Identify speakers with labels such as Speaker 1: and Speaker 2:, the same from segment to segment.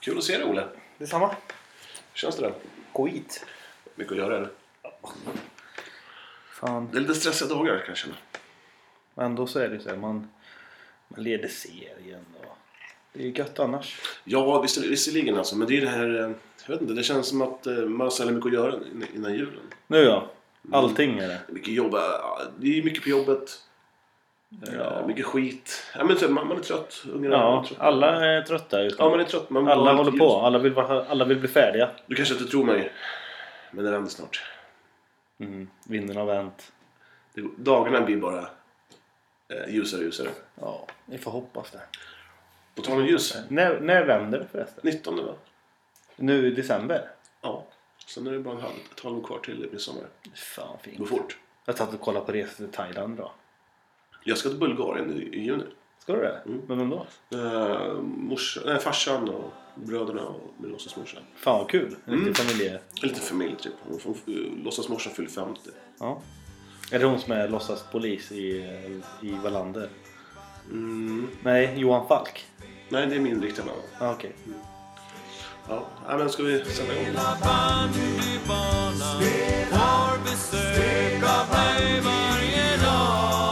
Speaker 1: Kul att se dig Olle.
Speaker 2: Detsamma.
Speaker 1: Hur känns det då?
Speaker 2: Gå hit.
Speaker 1: Mycket att göra eller?
Speaker 2: Fan.
Speaker 1: Det är lite stressiga dagar kan jag känna.
Speaker 2: Men ändå så är det ju så här, man, man leder serien och det är ju gött annars.
Speaker 1: Ja, visst, visserligen alltså. Men det är det här... eh, Jag vet inte, det känns som att eh, man har så jävla mycket att göra innan- innan julen.
Speaker 2: Nu ja. Allting är det.
Speaker 1: Det är mycket jobb. eh, Det är mycket på jobbet. eh,
Speaker 2: Ja.
Speaker 1: Mycket skit. Ja, men, så här, man, man är trött. Ungarna
Speaker 2: Ja,
Speaker 1: är trötta.
Speaker 2: alla är trötta just
Speaker 1: Ja, man
Speaker 2: nu.
Speaker 1: är trött. Man
Speaker 2: Alla
Speaker 1: man-
Speaker 2: håller på. Alla vill, vara, alla vill bli färdiga.
Speaker 1: Du kanske inte tror mig. Men det vänder snart.
Speaker 2: Mm. Vinden har vänt.
Speaker 1: Det, dagarna blir bara eh, ljusare och ljusare.
Speaker 2: Ja, vi får hoppas det.
Speaker 1: På tal om ljus.
Speaker 2: När, när vänder det förresten?
Speaker 1: 19 va?
Speaker 2: Nu i december?
Speaker 1: Ja. Sen är det bara en halv, ett halvår kvar till midsommar.
Speaker 2: Fan
Speaker 1: Det går
Speaker 2: fint.
Speaker 1: fort.
Speaker 2: Jag satt och kollade på resor till Thailand då.
Speaker 1: Jag ska till Bulgarien i, i juni.
Speaker 2: Ska du det? Men vem då?
Speaker 1: Eh, mors, nej, farsan och bröderna och min låtsasmorsa.
Speaker 2: Fan vad kul. En riktig familje...
Speaker 1: En liten familj typ. Hon- hon- eh, Låtsasmorsan fyller 50.
Speaker 2: Ja. Är det hon som är låtsas polis i, i Wallander?
Speaker 1: Mm.
Speaker 2: Nej, Johan Falk.
Speaker 1: Nej, det är min riktiga mamma.
Speaker 2: Ah, Okej.
Speaker 1: Ja, nej, men ska vi sätta igång?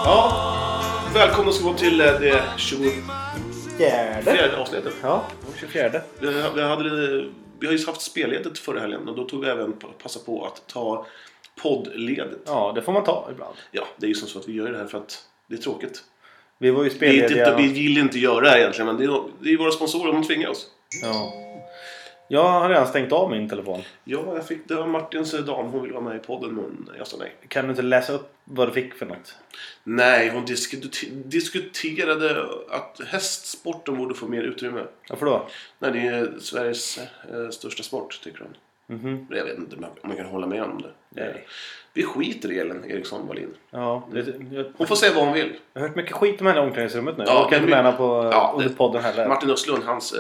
Speaker 1: Ja, välkomna ska vi gå till eh, det 24
Speaker 2: Fjärde.
Speaker 1: avsnittet.
Speaker 2: Ja, 24.
Speaker 1: Vi, vi, hade, vi har ju haft spelledigt förra helgen och då tog vi även på- passa på att ta poddledigt.
Speaker 2: Ja, det får man ta ibland.
Speaker 1: Ja, det är ju som så att vi gör det här för att det är tråkigt.
Speaker 2: Vi var ju
Speaker 1: Vi, är inte,
Speaker 2: spellediga.
Speaker 1: vi vill inte göra det här egentligen, men det är, det är våra sponsorer, de tvingar oss.
Speaker 2: Ja. Jag har redan stängt av min telefon.
Speaker 1: Ja, jag fick, det var Martins dam, hon ville vara med i podden, men jag sa nej.
Speaker 2: Kan du inte läsa upp vad du fick för något?
Speaker 1: Nej, hon diskut, diskuterade att hästsporten borde få mer utrymme.
Speaker 2: Varför då?
Speaker 1: Nej, det är Sveriges eh, största sport, tycker hon.
Speaker 2: Mhm.
Speaker 1: Men Jag vet inte om jag- om jag kan hålla med om det.
Speaker 2: Nej.
Speaker 1: Vi skiter i Ellen Eriksson Wallin.
Speaker 2: Ja, det, jag,
Speaker 1: Hon får säga vad hon vill.
Speaker 2: jag har hört mycket skit om henne i omklädningsrummet nu.
Speaker 1: Ja,
Speaker 2: jag kan
Speaker 1: men
Speaker 2: inte med
Speaker 1: vi-
Speaker 2: henne på
Speaker 1: Ja,
Speaker 2: under
Speaker 1: det-
Speaker 2: podden heller.
Speaker 1: Martin Östlund, hans, eh,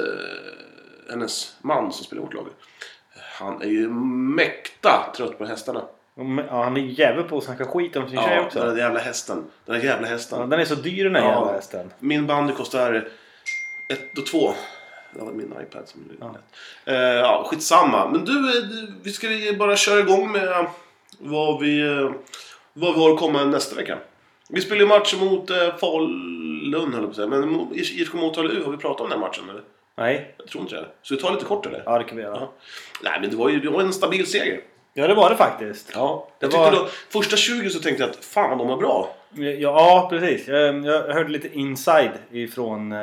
Speaker 1: hennes man som spelar i vårt lag. Han är ju mäkta trött på hästarna.
Speaker 2: Men, ja, han är jävel på att snacka skit om sin tjej
Speaker 1: Ja,
Speaker 2: också.
Speaker 1: den där jävla hästen. Den där jävla hästen.
Speaker 2: Ja, den är så dyr den här
Speaker 1: Ja.
Speaker 2: jävla hästen.
Speaker 1: Min bandy kostar 1 och 2. Det var min iPad som blev lätt. Eh, ja, skitsamma. Men du, eh, du, vi ska vi bara köra igång med eh, vad vi, eh, vad vi har att komma med nästa vecka. Vi spelar ju match mot eh, Falun, höll jag på att säga. Men mot- IFK Motala U, har vi pratat om den här matchen eller?
Speaker 2: Nej,
Speaker 1: Jag tror inte det. Så vi tar lite kort eller?
Speaker 2: ja det kan vi göra.
Speaker 1: Ja. Nej, men det var ju det var en stabil seger.
Speaker 2: Ja, det var det faktiskt.
Speaker 1: Ja, jag
Speaker 2: det var-
Speaker 1: tyckte då, första 20 så tänkte jag att fan, de var bra.
Speaker 2: Ja, ja precis. Jag, jag hörde lite inside ifrån eh,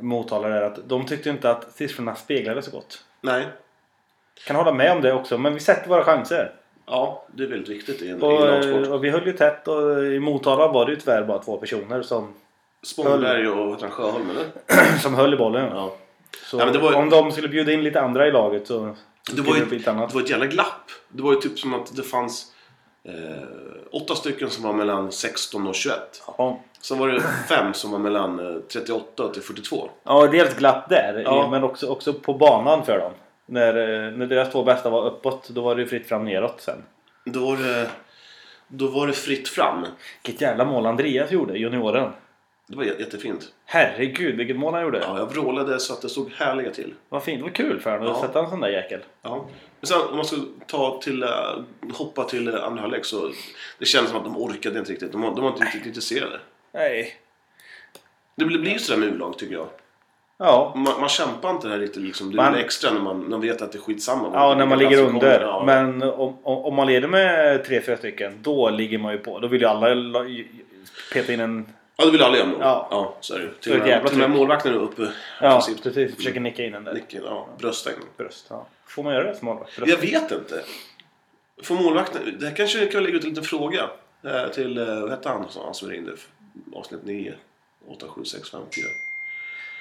Speaker 2: Motala där att de tyckte inte att siffrorna speglade så gott.
Speaker 1: Nej.
Speaker 2: Kan hålla med om det också, men vi sätter våra chanser.
Speaker 1: Ja, det är väldigt viktigt i en, i en
Speaker 2: Och,
Speaker 1: lagsport.
Speaker 2: eh, och vi höll ju tätt och i Motala var det ju tyvärr bara två personer som,
Speaker 1: Spångberg och vad heter han, Sjöholm eller?
Speaker 2: som höll i bollen.
Speaker 1: Ja.
Speaker 2: Så
Speaker 1: Nej, men det var ju-
Speaker 2: om de skulle bjuda in lite andra i laget så
Speaker 1: Det
Speaker 2: skulle
Speaker 1: var,
Speaker 2: det
Speaker 1: ju,
Speaker 2: bli ett annat.
Speaker 1: det var ett jävla glapp. Det var ju typ som att det fanns eh, åtta stycken som var mellan 16 och 21.
Speaker 2: Ja.
Speaker 1: Sen var det fem som var mellan eh, 38 till 42.
Speaker 2: Ja, dels glapp där,
Speaker 1: Ja.
Speaker 2: men också, också på banan för dem. När, eh, när deras två bästa var uppåt, då var det ju fritt fram neråt sen.
Speaker 1: Då var det, då var det fritt fram.
Speaker 2: Vilket jävla mål Andreas gjorde, junioren.
Speaker 1: Det var jä- jättefint.
Speaker 2: Herregud, vilket mål han gjorde.
Speaker 1: Ja, jag vrålade så att det såg härliga till.
Speaker 2: Vad fint, vad kul för honom att
Speaker 1: Ja.
Speaker 2: sätta en sån där jäkel.
Speaker 1: Ja. Men sen om man ska ta till, eh, hoppa till eh, andra halvlek så det kändes som att de orkade inte riktigt. De var, de var inte riktigt intresserade.
Speaker 2: Nej.
Speaker 1: Det blir blir ju sådär med U-lag tycker jag.
Speaker 2: Ja,
Speaker 1: Man, man kämpar inte här riktigt liksom. Det
Speaker 2: Man-
Speaker 1: är extra när man, när man vet att det är skitsamma.
Speaker 2: ja när man
Speaker 1: Vilken
Speaker 2: ligger
Speaker 1: plats som
Speaker 2: under.
Speaker 1: kommer, ja.
Speaker 2: Men om, om om man leder med 3-4 stycken, då ligger man ju på. Då vill ju alla la- ju- ju- peta in en...
Speaker 1: Ja, det vill alla göra mål.
Speaker 2: Ja.
Speaker 1: Ja. så är det ju. Till
Speaker 2: ett
Speaker 1: och med,
Speaker 2: jävla
Speaker 1: till och med
Speaker 2: tryck.
Speaker 1: målvakten är uppe.
Speaker 2: Ja,
Speaker 1: i princip.
Speaker 2: precis. Försöker nicka in den där.
Speaker 1: Nicken, ja. Bröstäggen.
Speaker 2: Bröst. Ja. Får man göra det som målvakt? Bröst.
Speaker 1: Jag vet inte. För målvakten, det här kanske kan lägga ut en liten fråga. eh, Till, eh, vad hette han som- han som ringde? Avsnitt 9. 8, 7, 6, 5, 4.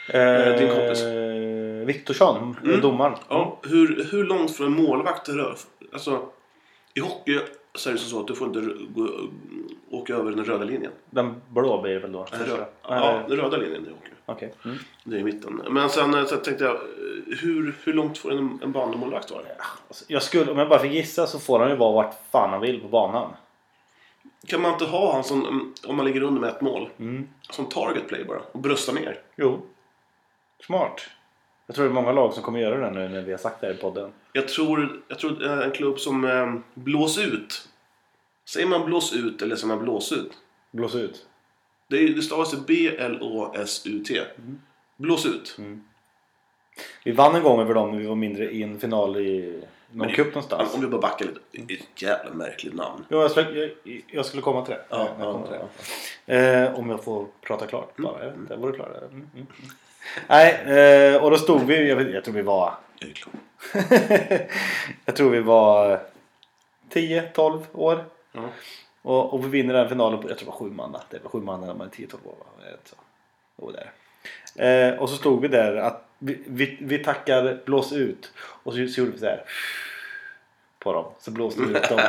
Speaker 1: Eh, din kompis.
Speaker 2: Eh, Viktorsson,
Speaker 1: Mm.
Speaker 2: domaren.
Speaker 1: Ja, hur, hur långt från en målvakt rör... Alltså, i hockey så är det som så att du får inte rö- gå, åka över den röda linjen.
Speaker 2: Den blå blir det väl då?
Speaker 1: Den
Speaker 2: första?
Speaker 1: röda,
Speaker 2: Nej,
Speaker 1: ja, den röda linjen i hockey.
Speaker 2: Okej. Mm.
Speaker 1: Det är i mitten. Men sen eh, så tänkte jag, eh, hur, hur långt får en, en bandymålvakt vara?
Speaker 2: Alltså, jag skulle, om jag bara fick gissa så får han ju vara vart fan han vill på banan.
Speaker 1: Kan man inte ha han som, mm, om man ligger under med ett mål,
Speaker 2: Mm.
Speaker 1: som target play bara och brösta ner?
Speaker 2: Jo. Smart. Jag tror det är många lag som kommer göra det nu när vi har sagt det här i podden.
Speaker 1: Jag tror, jag tror eh, en klubb som eh, blås ut. Säger man blås ut eller säger man blås ut?
Speaker 2: Blås ut.
Speaker 1: Det, är- det stavas ju B-L-Å-S-U-T. Blås ut.
Speaker 2: Vi vann en gång över dem när vi var mindre i en final i någon
Speaker 1: det-
Speaker 2: cup någonstans.
Speaker 1: Om vi bara backar lite. Det är Ett jävla märkligt namn.
Speaker 2: Jo, jag, skulle, jag, jag skulle komma till det.
Speaker 1: Ja,
Speaker 2: jag kom
Speaker 1: ja,
Speaker 2: till det. Eh, om jag får prata klart bara. Jag vet inte, var du klar där? Mm, mm, mm. Nej, eh, och då stod vi, jag, vet, jag tror vi var...
Speaker 1: Är det klokt?
Speaker 2: jag tror vi var 10-12 år.
Speaker 1: Ja.
Speaker 2: Och, och vi vinner den finalen på, jag tror det var sju man natt. Det var sju man när man är 10-12 år. va? Jag vet inte så. Jo, där. Eh, och så stod vi där att vi, vi, vi tackar blås ut. Och så, så gjorde vi så här. På dem. Så blåste vi ut dem.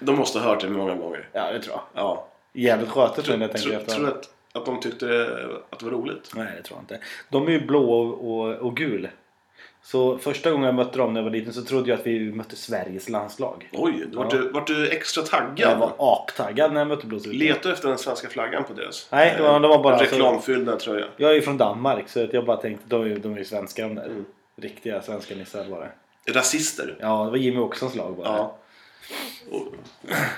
Speaker 1: De måste ha hört det många gånger.
Speaker 2: Ja, det tror jag.
Speaker 1: Ja.
Speaker 2: Jävligt skötet nu när jag
Speaker 1: Tror
Speaker 2: tänker
Speaker 1: tror-
Speaker 2: efter.
Speaker 1: tror du att, att de tyckte det- att det var roligt?
Speaker 2: Nej, det tror jag inte. De är ju blå och, och, och gul. Så första gången jag mötte dem när jag var liten så trodde jag att vi mötte Sveriges landslag.
Speaker 1: Oj, då vart,
Speaker 2: Ja.
Speaker 1: du, vart du extra
Speaker 2: Jag
Speaker 1: taggad?
Speaker 2: var aptaggad när jag mötte blås ut.
Speaker 1: Letar du efter den svenska flaggan på deras?
Speaker 2: Nej, alltså- det var- det var bara-
Speaker 1: Reklamfyllda tröja.
Speaker 2: Jag är ju från Danmark så att jag bara tänkte de är ju, de är ju svenska de där.
Speaker 1: Mm.
Speaker 2: Riktiga svenska nissar var det.
Speaker 1: Rasister.
Speaker 2: Ja, det var Jimmy Åkessons lag bara.
Speaker 1: Ja. Och-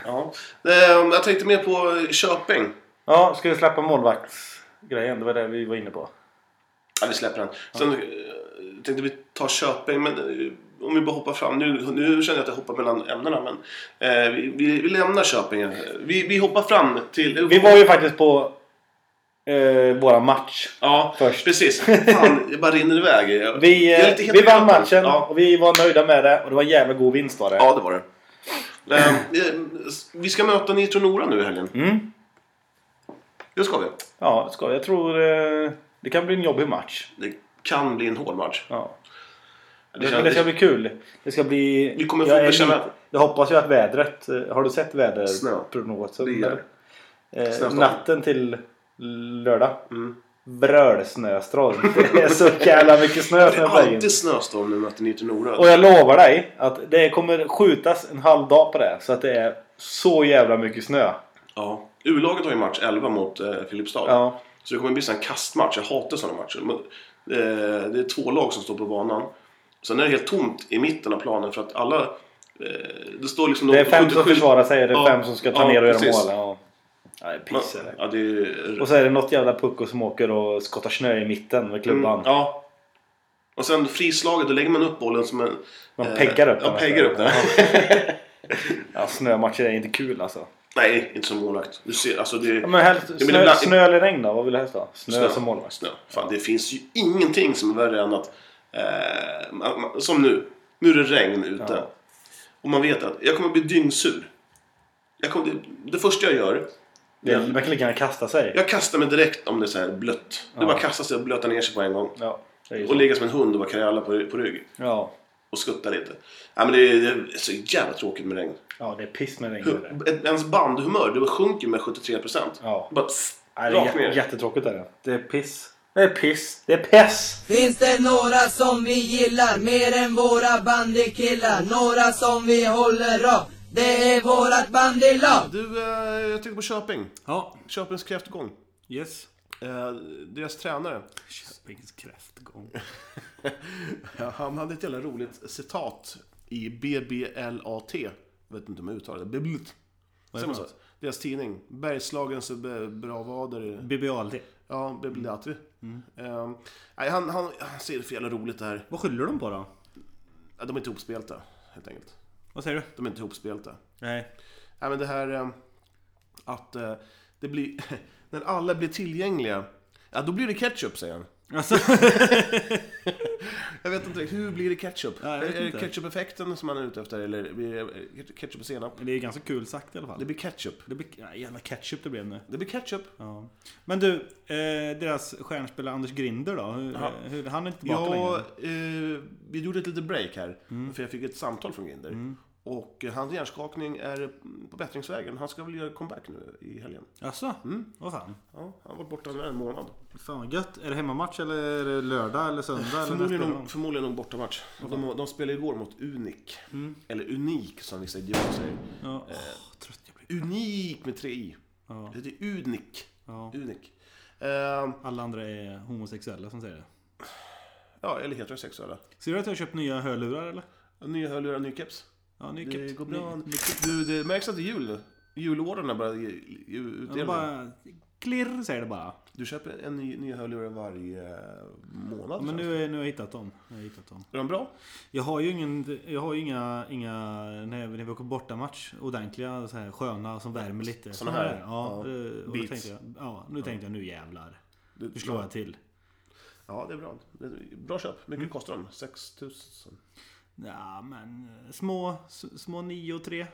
Speaker 1: ja. Ehm, Jag tänkte mer på Köping.
Speaker 2: ja, ska vi släppa målvaktsgrejen? Det var det vi var inne på.
Speaker 1: Ja, vi släpper den. Sen eh, tänkte vi ta Köping, men eh, om vi bara hoppar fram. Nu, nu känner jag att jag hoppar mellan ämnena, men eh, vi, vi, vi lämnar Köping. Eh, Vi, vi hoppar fram till...
Speaker 2: Vi var ju faktiskt på eh, våra match.
Speaker 1: Ja,
Speaker 2: först.
Speaker 1: precis. Fan, det bara rinner iväg. Jag-
Speaker 2: Vi,
Speaker 1: jag är
Speaker 2: eh,
Speaker 1: lite het
Speaker 2: vi
Speaker 1: i
Speaker 2: vann
Speaker 1: kroppen.
Speaker 2: matchen
Speaker 1: Ja,
Speaker 2: och vi var nöjda med det och det var en jävla god vinst var det.
Speaker 1: ja, det var det. Ehm, eh, vi ska möta Nitro Nora nu i helgen.
Speaker 2: Mm.
Speaker 1: Det ska vi.
Speaker 2: Ja, det ska jag. tror eh, det kan bli en jobbig match.
Speaker 1: Det kan bli en hård match.
Speaker 2: Ja.
Speaker 1: Det
Speaker 2: Men det ska
Speaker 1: känns
Speaker 2: bli kul. Det ska bli...
Speaker 1: Vi kommer få
Speaker 2: jag, är
Speaker 1: bekänna-
Speaker 2: lite- jag hoppas ju att vädret... eh, Har du sett
Speaker 1: Snö.
Speaker 2: väderprognosen?
Speaker 1: Det gör
Speaker 2: eh,
Speaker 1: Snöstorm.
Speaker 2: natten till lördag.
Speaker 1: Mm.
Speaker 2: Vrölsnöstorm. Det är så jävla mycket snö
Speaker 1: det
Speaker 2: som
Speaker 1: är
Speaker 2: är på vägen.
Speaker 1: alltid snöstorm när vi möter Nitro Nora.
Speaker 2: Och jag lovar dig att det kommer skjutas en halv dag på det. Så att det är så jävla mycket snö.
Speaker 1: Ja. U-laget har ju match 11 mot eh, Filipstad.
Speaker 2: Ja.
Speaker 1: Så det kommer bli en sån här kastmatch. Jag hatar sådana matcher. Men, eh, det är två lag som står på banan. Sen är det helt tomt i mitten av planen för att alla... Eh, det står liksom...
Speaker 2: Det är
Speaker 1: de-
Speaker 2: fem som
Speaker 1: 77
Speaker 2: försvarar sig. Det är
Speaker 1: Ja,
Speaker 2: fem som ska ta
Speaker 1: ja,
Speaker 2: ner och göra
Speaker 1: precis.
Speaker 2: mål. Ja. Ja, det är
Speaker 1: Man,
Speaker 2: piss är det.
Speaker 1: ja, det är...
Speaker 2: Och så är det något jävla pucko som åker och skottar snö i mitten med klubban.
Speaker 1: Mm, ja. Och sen frislaget, då lägger man upp bollen som en...
Speaker 2: Man peggar upp
Speaker 1: den. Ja,
Speaker 2: den.
Speaker 1: peggar upp den.
Speaker 2: Ja, snömatcher är inte kul alltså.
Speaker 1: Nej, inte som målvakt. Du ser, alltså det...
Speaker 2: Ja, men helst,
Speaker 1: men
Speaker 2: snö,
Speaker 1: ibland-
Speaker 2: snö eller regn då? Vad vill du helst ha? Snö, som målvakt.
Speaker 1: Snö. Fan, det finns ju ingenting som är värre än att... Eh, man, man, som nu. Nu är det regn ute.
Speaker 2: Ja.
Speaker 1: Och man vet att jag kommer bli dyngsur. Jag kommer, det, det första jag gör...
Speaker 2: Det är, man kan lika gärna kasta sig.
Speaker 1: Jag kastar mig direkt om det är så här blött. Det är
Speaker 2: Ja.
Speaker 1: bara att kasta sig och blöta ner sig på en gång.
Speaker 2: Ja, det är ju
Speaker 1: Och
Speaker 2: så.
Speaker 1: ligga som en hund och bara kräla på, på rygg.
Speaker 2: Ja.
Speaker 1: Och skutta lite. Ja, men det, är, det är så jävla tråkigt med regn.
Speaker 2: ja, det är piss med regn. det.
Speaker 1: Hur, ett- ens bandhumör det sjunker med 73%.
Speaker 2: Ja.
Speaker 1: Bara, pff,
Speaker 2: Nej, det är
Speaker 1: rakt
Speaker 2: jä-
Speaker 1: ner.
Speaker 2: jättetråkigt är det. Det är piss. Det är piss. Det är piss!
Speaker 3: Finns det några som vi gillar mer än våra bandykillar? Några som vi håller av? Det är vårat bandylag!
Speaker 1: Du, eh, jag tänker på Köping.
Speaker 4: Ja,
Speaker 1: Köpings kräftgång.
Speaker 4: yes.
Speaker 1: Eh, deras tränare.
Speaker 4: Köpings kräftgång.
Speaker 1: Han hade ett jävla roligt citat i BBLAT. Jag vet inte om jag uttalar det. Biblut. Säger man så? Deras tidning. Bergslagens b- bravader.
Speaker 4: BBALD.
Speaker 1: Ja, Biblat. Eh, nej, han, han, han ser för jävla roligt det här.
Speaker 4: Vad skyller de på då?
Speaker 1: Ja, De är inte ihopspelta, helt enkelt.
Speaker 4: Vad säger du?
Speaker 1: De är inte ihopspelta.
Speaker 4: Nej.
Speaker 1: Nej, men det här eh, att eh, det blir... När alla blir tillgängliga, ja då blir det ketchup, säger han.
Speaker 4: Alltså,
Speaker 1: Jag vet inte riktigt, hur blir det ketchup?
Speaker 4: Nej, jag
Speaker 1: är
Speaker 4: vet
Speaker 1: är det
Speaker 4: inte.
Speaker 1: ketchup-effekten som man är ute efter eller blir det eh, ketchup och senap?
Speaker 4: det är ganska kul sagt i alla fall.
Speaker 1: Det blir ketchup.
Speaker 4: Det blir, ja, jävla ketchup det blev nu.
Speaker 1: Det blir ketchup.
Speaker 4: Ja. Men du, eh, deras stjärnspelare Anders Grinder då? Hur,
Speaker 1: Ja.
Speaker 4: hur, han är inte tillbaka
Speaker 1: Ja,
Speaker 4: längre?
Speaker 1: eh, vi gjorde ett litet break här
Speaker 4: Mm.
Speaker 1: för jag fick ett samtal från Grinder. Och eh, hans hjärnskakning är på bättringsvägen. Han ska väl göra comeback nu i helgen.
Speaker 4: Jaså?
Speaker 2: Mm.
Speaker 4: Vad fan?
Speaker 1: Ja, han har varit borta nu en månad.
Speaker 4: Fan vad gött. Är det hemmamatch eller är det lördag eller söndag? eller när
Speaker 1: Förmodligen,
Speaker 4: spelar
Speaker 1: nog- förmodligen någon bortamatch. De, de spelade igår mot Unik.
Speaker 2: Mm.
Speaker 1: Eller Unik som vissa idioter säger.
Speaker 4: de? Ja. Åh, trött jag blir.
Speaker 1: Unik med tre i.
Speaker 4: Ja.
Speaker 1: Det heter Unik.
Speaker 4: Ja.
Speaker 1: Unik. Eh,
Speaker 4: Alla andra är homosexuella som säger det.
Speaker 1: Ja, eller heterosexuella.
Speaker 2: Ser du att jag har köpt nya hörlurar eller?
Speaker 1: Nya hörlurar, ny keps.
Speaker 2: Ja, ny
Speaker 1: Det
Speaker 2: keps.
Speaker 1: går bra.
Speaker 2: Ny- ny-
Speaker 1: Du, det märks att det är jul nu. Julorderna börjar ge- ge-
Speaker 2: Ja, det
Speaker 1: utdelning.
Speaker 2: bara klirr säger det bara.
Speaker 1: Du köper en ny, nya hörlurar varje eh, månad.
Speaker 2: Ja, men
Speaker 1: känns det.
Speaker 2: nu, är- nu har jag hittat dem. Jag har hittat dem.
Speaker 1: Är de bra?
Speaker 2: Jag har ju ingen, jag har ju inga, inga när jag- när vi åker bortamatch, ordentliga så här sköna som värmer lite.
Speaker 1: Såna
Speaker 2: Såna
Speaker 1: här? Ja.
Speaker 2: Ja, eh, och då
Speaker 1: Beats.
Speaker 2: tänkte jag, ja, nu tänkte jag nu jävlar.
Speaker 1: Du-
Speaker 2: Nu slår jag till.
Speaker 1: Ja, det är bra. Det är bra köp. Hur mycket
Speaker 2: Mm.
Speaker 1: kostar de? 6 000
Speaker 2: Ja, men eh, små, s- små 9 och 3.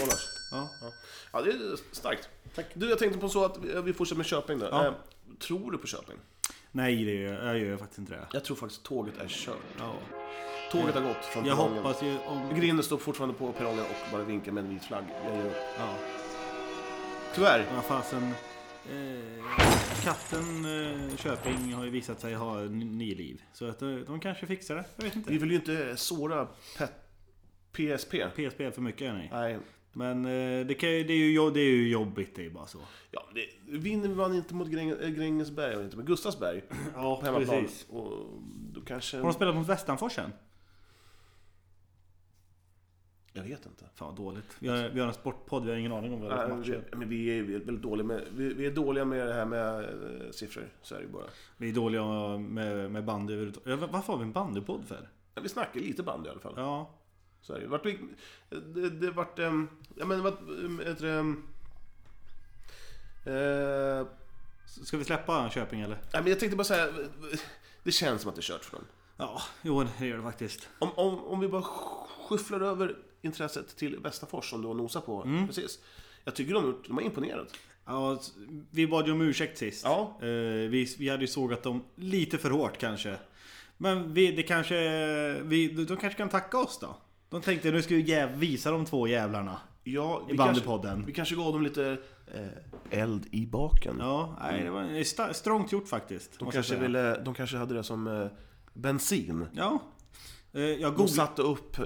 Speaker 1: dollars.
Speaker 2: Ja.
Speaker 1: Ja. ja, det är starkt. Tack. Du, jag tänkte på så att vi- vi fortsätter med Köping där.
Speaker 2: Ja.
Speaker 1: Eh, tror du på Köping?
Speaker 2: Nej, det gör jag, jag gör faktiskt inte det.
Speaker 1: Jag tror faktiskt tåget är kört. Mm.
Speaker 2: Ja.
Speaker 1: Tåget har gått från
Speaker 2: Jag
Speaker 1: perrongen.
Speaker 2: hoppas ju om...
Speaker 1: Grinden står fortfarande på perrongen och bara vinkar med en vit flagg. Jag ger upp.
Speaker 2: Ja,
Speaker 1: Tyvärr.
Speaker 2: vad fasen. Eh, katten eh, Köping har ju visat sig ha n- nio liv. Så att eh, de kanske fixar det. Jag vet
Speaker 1: Vi
Speaker 2: inte.
Speaker 1: vill ju inte såra pet- PSP.
Speaker 2: PSP är för mycket, nej.
Speaker 1: Nej.
Speaker 2: Men eh, det, kan, ju- det, är ju, jo- det är ju jobbigt, det är bara så.
Speaker 1: Ja, det, vinner man inte mot Gräng, äh, Grängesberg, och inte, men Gustavsberg
Speaker 2: Ja,
Speaker 1: på hemmaplan. Och då kanske...
Speaker 2: Har de spelat mot Västanfors än?
Speaker 1: Jag vet inte.
Speaker 2: Fan vad dåligt. Vi har, vi har en sportpodd, vi har ingen aning om vad det är för
Speaker 1: Nej,
Speaker 2: matcher.
Speaker 1: vi- men vi är vi är väldigt dåliga med, vi, vi är dåliga med det här med eh, siffror. Så är det ju bara.
Speaker 2: Vi är dåliga med, med bandy överhuvudtaget. Ja, va- Varför har vi en bandypodd för?
Speaker 1: Men vi snackar lite band i alla fall.
Speaker 2: Ja,
Speaker 1: Så är det ju. Vart vi, det, det vart... ehm, Ja men vart... ehm, Heter det... ehm, eh,
Speaker 2: s- ska vi släppa Köping eller?
Speaker 1: nej, men jag tänkte bara säga... Det känns som att det är kört för dem.
Speaker 2: Ja, jo det gör det faktiskt.
Speaker 1: Om, om, om vi bara skyfflar över intresset till Västerfors som du har nosat på. Precis. Jag tycker de, har gjort- de har imponerat.
Speaker 2: Ja, s- vi bad ju om ursäkt sist.
Speaker 1: Ja.
Speaker 2: Eh, vi, vi hade ju sågat dem lite för hårt kanske. Men vi, det kanske, vi, de de kanske kan tacka oss då? De tänkte nu ska vi jäv, visa de två jävlarna.
Speaker 1: Ja, vi
Speaker 2: bandypodden.
Speaker 1: Kanske, vi kanske gav dem lite eh, eld i baken.
Speaker 2: Ja, nej, det var sta- strongt gjort faktiskt.
Speaker 1: de,
Speaker 2: måste jag
Speaker 1: kanske
Speaker 2: säga.
Speaker 1: ville, de kanske hade det som eh, bensin.
Speaker 2: Ja. Eh, Jag
Speaker 1: De
Speaker 2: googlade...
Speaker 1: satte upp eh,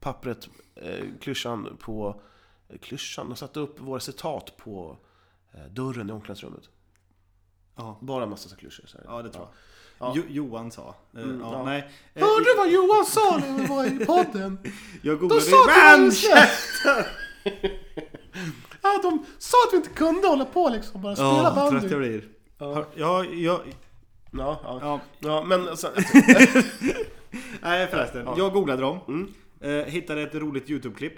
Speaker 1: pappret, eh, klyschan på... Eh, klyschan? De satte upp våra citat på eh, dörren i omklädningsrummet.
Speaker 2: Ja.
Speaker 1: Bara en massa så här klyschor. Så här.
Speaker 2: Ja, det tror jag.
Speaker 1: Ja. Mm,
Speaker 2: Jo, Johan sa. Eh, ja,
Speaker 1: ja.
Speaker 2: Nej. Eh,
Speaker 1: Hörde du vad Johan sa när vi var i podden?
Speaker 2: Jag
Speaker 1: Då
Speaker 2: googlade...
Speaker 1: sa att vi
Speaker 2: Men-
Speaker 1: var käften! Ja, de sa att vi inte kunde hålla på liksom, bara spela
Speaker 2: Ja, vad trött jag
Speaker 1: bandy.
Speaker 2: blir. Ja, jag...
Speaker 1: Ja, ja.
Speaker 2: Ja.
Speaker 1: ja, men alltså,
Speaker 2: Nej förresten, jag googlade dem.
Speaker 1: Mm.
Speaker 2: Eh, hittade ett roligt YouTube-klipp.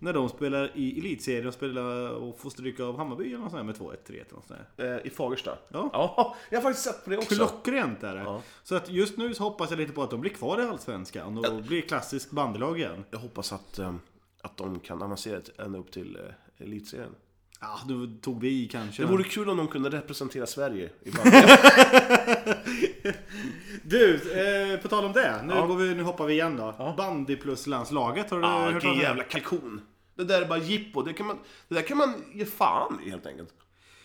Speaker 2: När de spelar i elitserien och spelar och får stryka av Hammarby eller något sånt där med 2-1, 3-1 eller något sånt där.
Speaker 1: eh, i Fagersta.
Speaker 2: Ja.
Speaker 1: jag har faktiskt sett på det också.
Speaker 2: Klockrent är det.
Speaker 1: Ja.
Speaker 2: Så att just nu så hoppas jag lite på att de blir kvar i Allsvenskan och blir klassisk bandelag igen.
Speaker 1: Jag hoppas att, eh, att de kan avancera till- ända upp till eh, elitserien.
Speaker 2: Ja, nu tog vi i kanske.
Speaker 1: Det vore kul om de kunde representera Sverige i bandy.
Speaker 2: Du, eh, på tal om det. Nu,
Speaker 1: Ja.
Speaker 2: går vi, nu hoppar vi igen då. Bandy plus landslaget, har du
Speaker 1: Ja,
Speaker 2: hört talas
Speaker 1: vilken
Speaker 2: om det?
Speaker 1: jävla kalkon. Det där är bara jippo. Det, kan man, det där kan man ge fan i helt enkelt.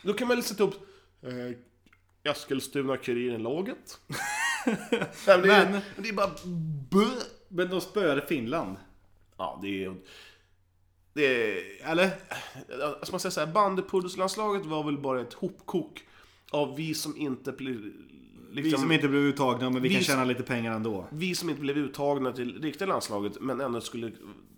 Speaker 1: Då kan man sätta upp eh, Eskilstuna-Kuriren-laget. men, det är-
Speaker 2: Men-
Speaker 1: det är bara bö.
Speaker 2: Men de spöade Finland.
Speaker 1: Ja, det är... Det är eller? Alltså man säger så här, bandypoddslandslaget var väl bara ett hopkok av vi som inte... blir-
Speaker 2: Vi
Speaker 1: Liksom,
Speaker 2: som inte blev uttagna, men vi,
Speaker 1: Vi
Speaker 2: kan
Speaker 1: som-
Speaker 2: tjäna lite pengar ändå.
Speaker 1: vi som inte blev uttagna till riktiga landslaget men ändå skulle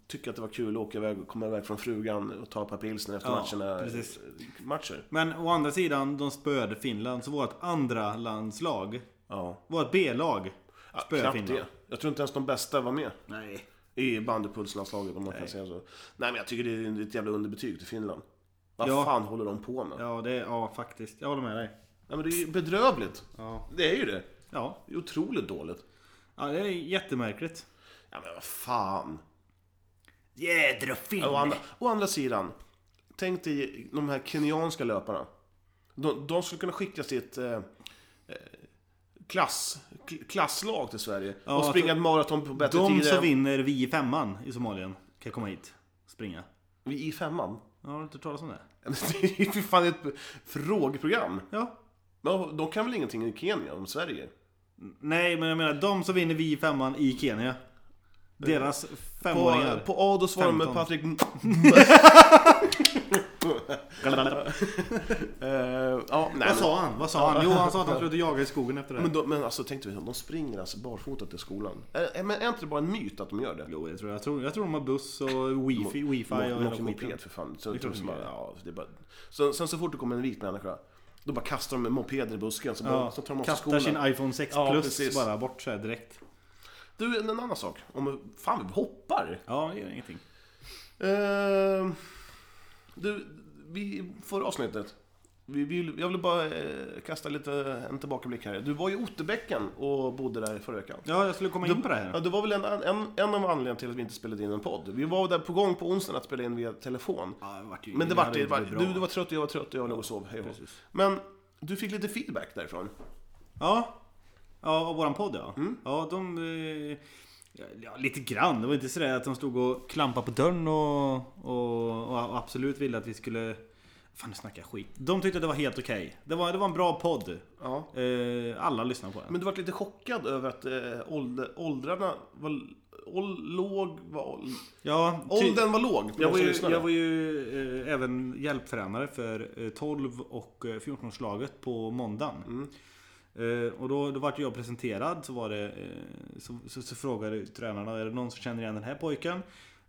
Speaker 1: tycka att det var kul att åka iväg och komma iväg från frugan och ta ett par pilsner efter
Speaker 2: Ja,
Speaker 1: matcherna.
Speaker 2: precis.
Speaker 1: Matcher.
Speaker 2: Men å andra sidan, de spöade Finland, så vårt andra landslag,
Speaker 1: Ja.
Speaker 2: vårt B-lag, spöade
Speaker 1: Knappt
Speaker 2: Finland.
Speaker 1: det. Jag tror inte ens de bästa var med
Speaker 2: Nej.
Speaker 1: i bandypulslandslaget om man kan säga så. Nej men jag tycker det är ett jävla underbetyg till Finland. Vad
Speaker 2: Ja.
Speaker 1: fan håller de på med?
Speaker 2: Ja, det, ja, faktiskt. Jag håller med dig.
Speaker 1: Nej, men det är ju bedrövligt.
Speaker 2: Ja.
Speaker 1: Det är ju det.
Speaker 2: Ja,
Speaker 1: Det är otroligt dåligt.
Speaker 2: ja det är jättemärkligt.
Speaker 1: Ja men vad fan.
Speaker 2: Jädra
Speaker 1: Å
Speaker 2: Finland!
Speaker 1: andra, å andra sidan, tänk dig de här kenyanska löparna. De, de skulle kunna skicka sitt eh, eh, klass, k- klasslag till Sverige
Speaker 2: Ja,
Speaker 1: och springa
Speaker 2: alltså,
Speaker 1: ett maraton på bättre
Speaker 2: De
Speaker 1: tider
Speaker 2: som
Speaker 1: än
Speaker 2: vinner vi i femman i Somalien kan komma hit springa.
Speaker 1: vi i femman.
Speaker 2: Ja, Har du inte hört talas om det?
Speaker 1: Men Det är ju för fan ett frågeprogram.
Speaker 2: Ja.
Speaker 1: Men de kan väl ingenting i Kenya om Sverige?
Speaker 2: Nej, men jag menar de som vinner vi i femman i Kenya. Deras
Speaker 1: På,
Speaker 2: femåringar.
Speaker 1: på Ados var de med
Speaker 2: Femton.
Speaker 1: Patrik... Eh, ja, nej,
Speaker 2: Vad
Speaker 1: men,
Speaker 2: sa han? Vad sa han? Jo, han sa att han skulle ut och jaga i skogen efter det.
Speaker 1: men, de, men alltså tänkte vi, de springer alltså barfota till skolan. Är, är, men är inte det bara en myt att de gör det?
Speaker 2: Jo, det tror jag. Jag tror, jag tror de har buss och wifi, wifi
Speaker 1: De
Speaker 2: och
Speaker 1: åker- de
Speaker 2: hela
Speaker 1: åker
Speaker 2: skiten.
Speaker 1: moped för fan. Så,
Speaker 2: Det är klart
Speaker 1: så,
Speaker 2: de
Speaker 1: bara,
Speaker 2: gör.
Speaker 1: ja, det är bara... så, sen så fort det kommer en vit människa, då bara kastar de mopeden i busken så, bara,
Speaker 2: Ja,
Speaker 1: så tar de av sig
Speaker 2: kastar
Speaker 1: skorna.
Speaker 2: sin iPhone 6
Speaker 1: Ja,
Speaker 2: plus
Speaker 1: precis.
Speaker 2: bara bort så här direkt.
Speaker 1: Du, en annan sak. Om, fan, vi hoppar!
Speaker 2: Ja, det gör ingenting.
Speaker 1: Eh, du, vi, förra avsnittet. Vi vill, jag vill bara eh, kasta lite en tillbakablick här. Du var i Otterbäcken och bodde där förra veckan.
Speaker 2: Ja, jag skulle komma in på det
Speaker 1: Ja,
Speaker 2: här.
Speaker 1: det var väl en, en, en av anledningarna till att vi inte spelade in en podd. Vi var där på gång på onsdagen att spela in via telefon.
Speaker 2: Ja, det vart ju-
Speaker 1: Men det
Speaker 2: det
Speaker 1: var,
Speaker 2: hade
Speaker 1: det
Speaker 2: inte
Speaker 1: var,
Speaker 2: blivit
Speaker 1: du,
Speaker 2: bra.
Speaker 1: du var trött och jag var trött och jag låg och sov. Hej och hå.
Speaker 2: precis.
Speaker 1: Men du fick lite feedback därifrån.
Speaker 2: Ja, ja och våran podd ja. Ja, de... eh, Ja, lite grann. Det var inte sådär att de stod och klampade på dörren och, och, och absolut ville att vi skulle... Fan, nu snackar jag skit. De tyckte att det var helt okej. Det, var, det var en bra podd.
Speaker 1: Ja.
Speaker 2: Eh, alla lyssnade på den.
Speaker 1: Men du var lite chockad över att eh, ålder, åldrarna var ål, låg... Var, ål,
Speaker 2: ja, ty-
Speaker 1: åldern var låg. på
Speaker 2: jag
Speaker 1: de
Speaker 2: var
Speaker 1: som
Speaker 2: ju,
Speaker 1: lyssnade.
Speaker 2: jag var ju eh, även hjälptränare för eh, 12 och eh, 14-årslaget på måndagen. Eh, och då, då vart jag presenterad så, var det, eh, så, så, så frågade tränarna är det någon som känner igen den här pojken?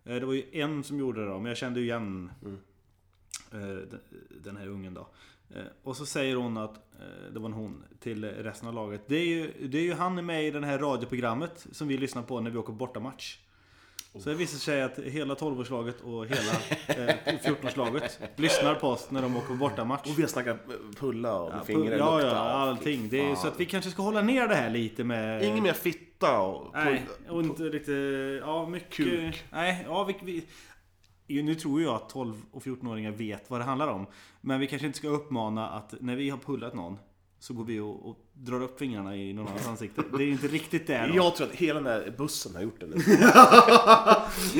Speaker 2: Eh, det var ju en som gjorde det då, men jag kände ju igen eh, den, den här ungen då. Eh, och så säger hon att, eh, det var en hon, till resten av laget. Det är ju, det är ju han med i det här radioprogrammet som vi lyssnar på när vi åker bortamatch. Så det visar sig att hela 12-årslaget och hela eh, 14-årslaget lyssnar på oss när de åker på bortamatch.
Speaker 1: Och vi har snackat pulla och med
Speaker 2: Ja,
Speaker 1: fingrar
Speaker 2: ja,
Speaker 1: lukta.
Speaker 2: allting. Det är, så att vi kanske ska hålla ner det här lite med...
Speaker 1: Inget mer fitta och...
Speaker 2: Nej, och inte lite... Ja, mycket...
Speaker 1: Kuk.
Speaker 2: Nej, ja, vi, vi, Jo, nu tror jag att 12 och 14-åringar vet vad det handlar om. Men vi kanske inte ska uppmana att när vi har pullat någon så går vi och, och drar upp fingrarna i någon annans ansikte. Det är ju inte riktigt det. då.
Speaker 1: Jag tror att hela den här bussen har gjort det nu.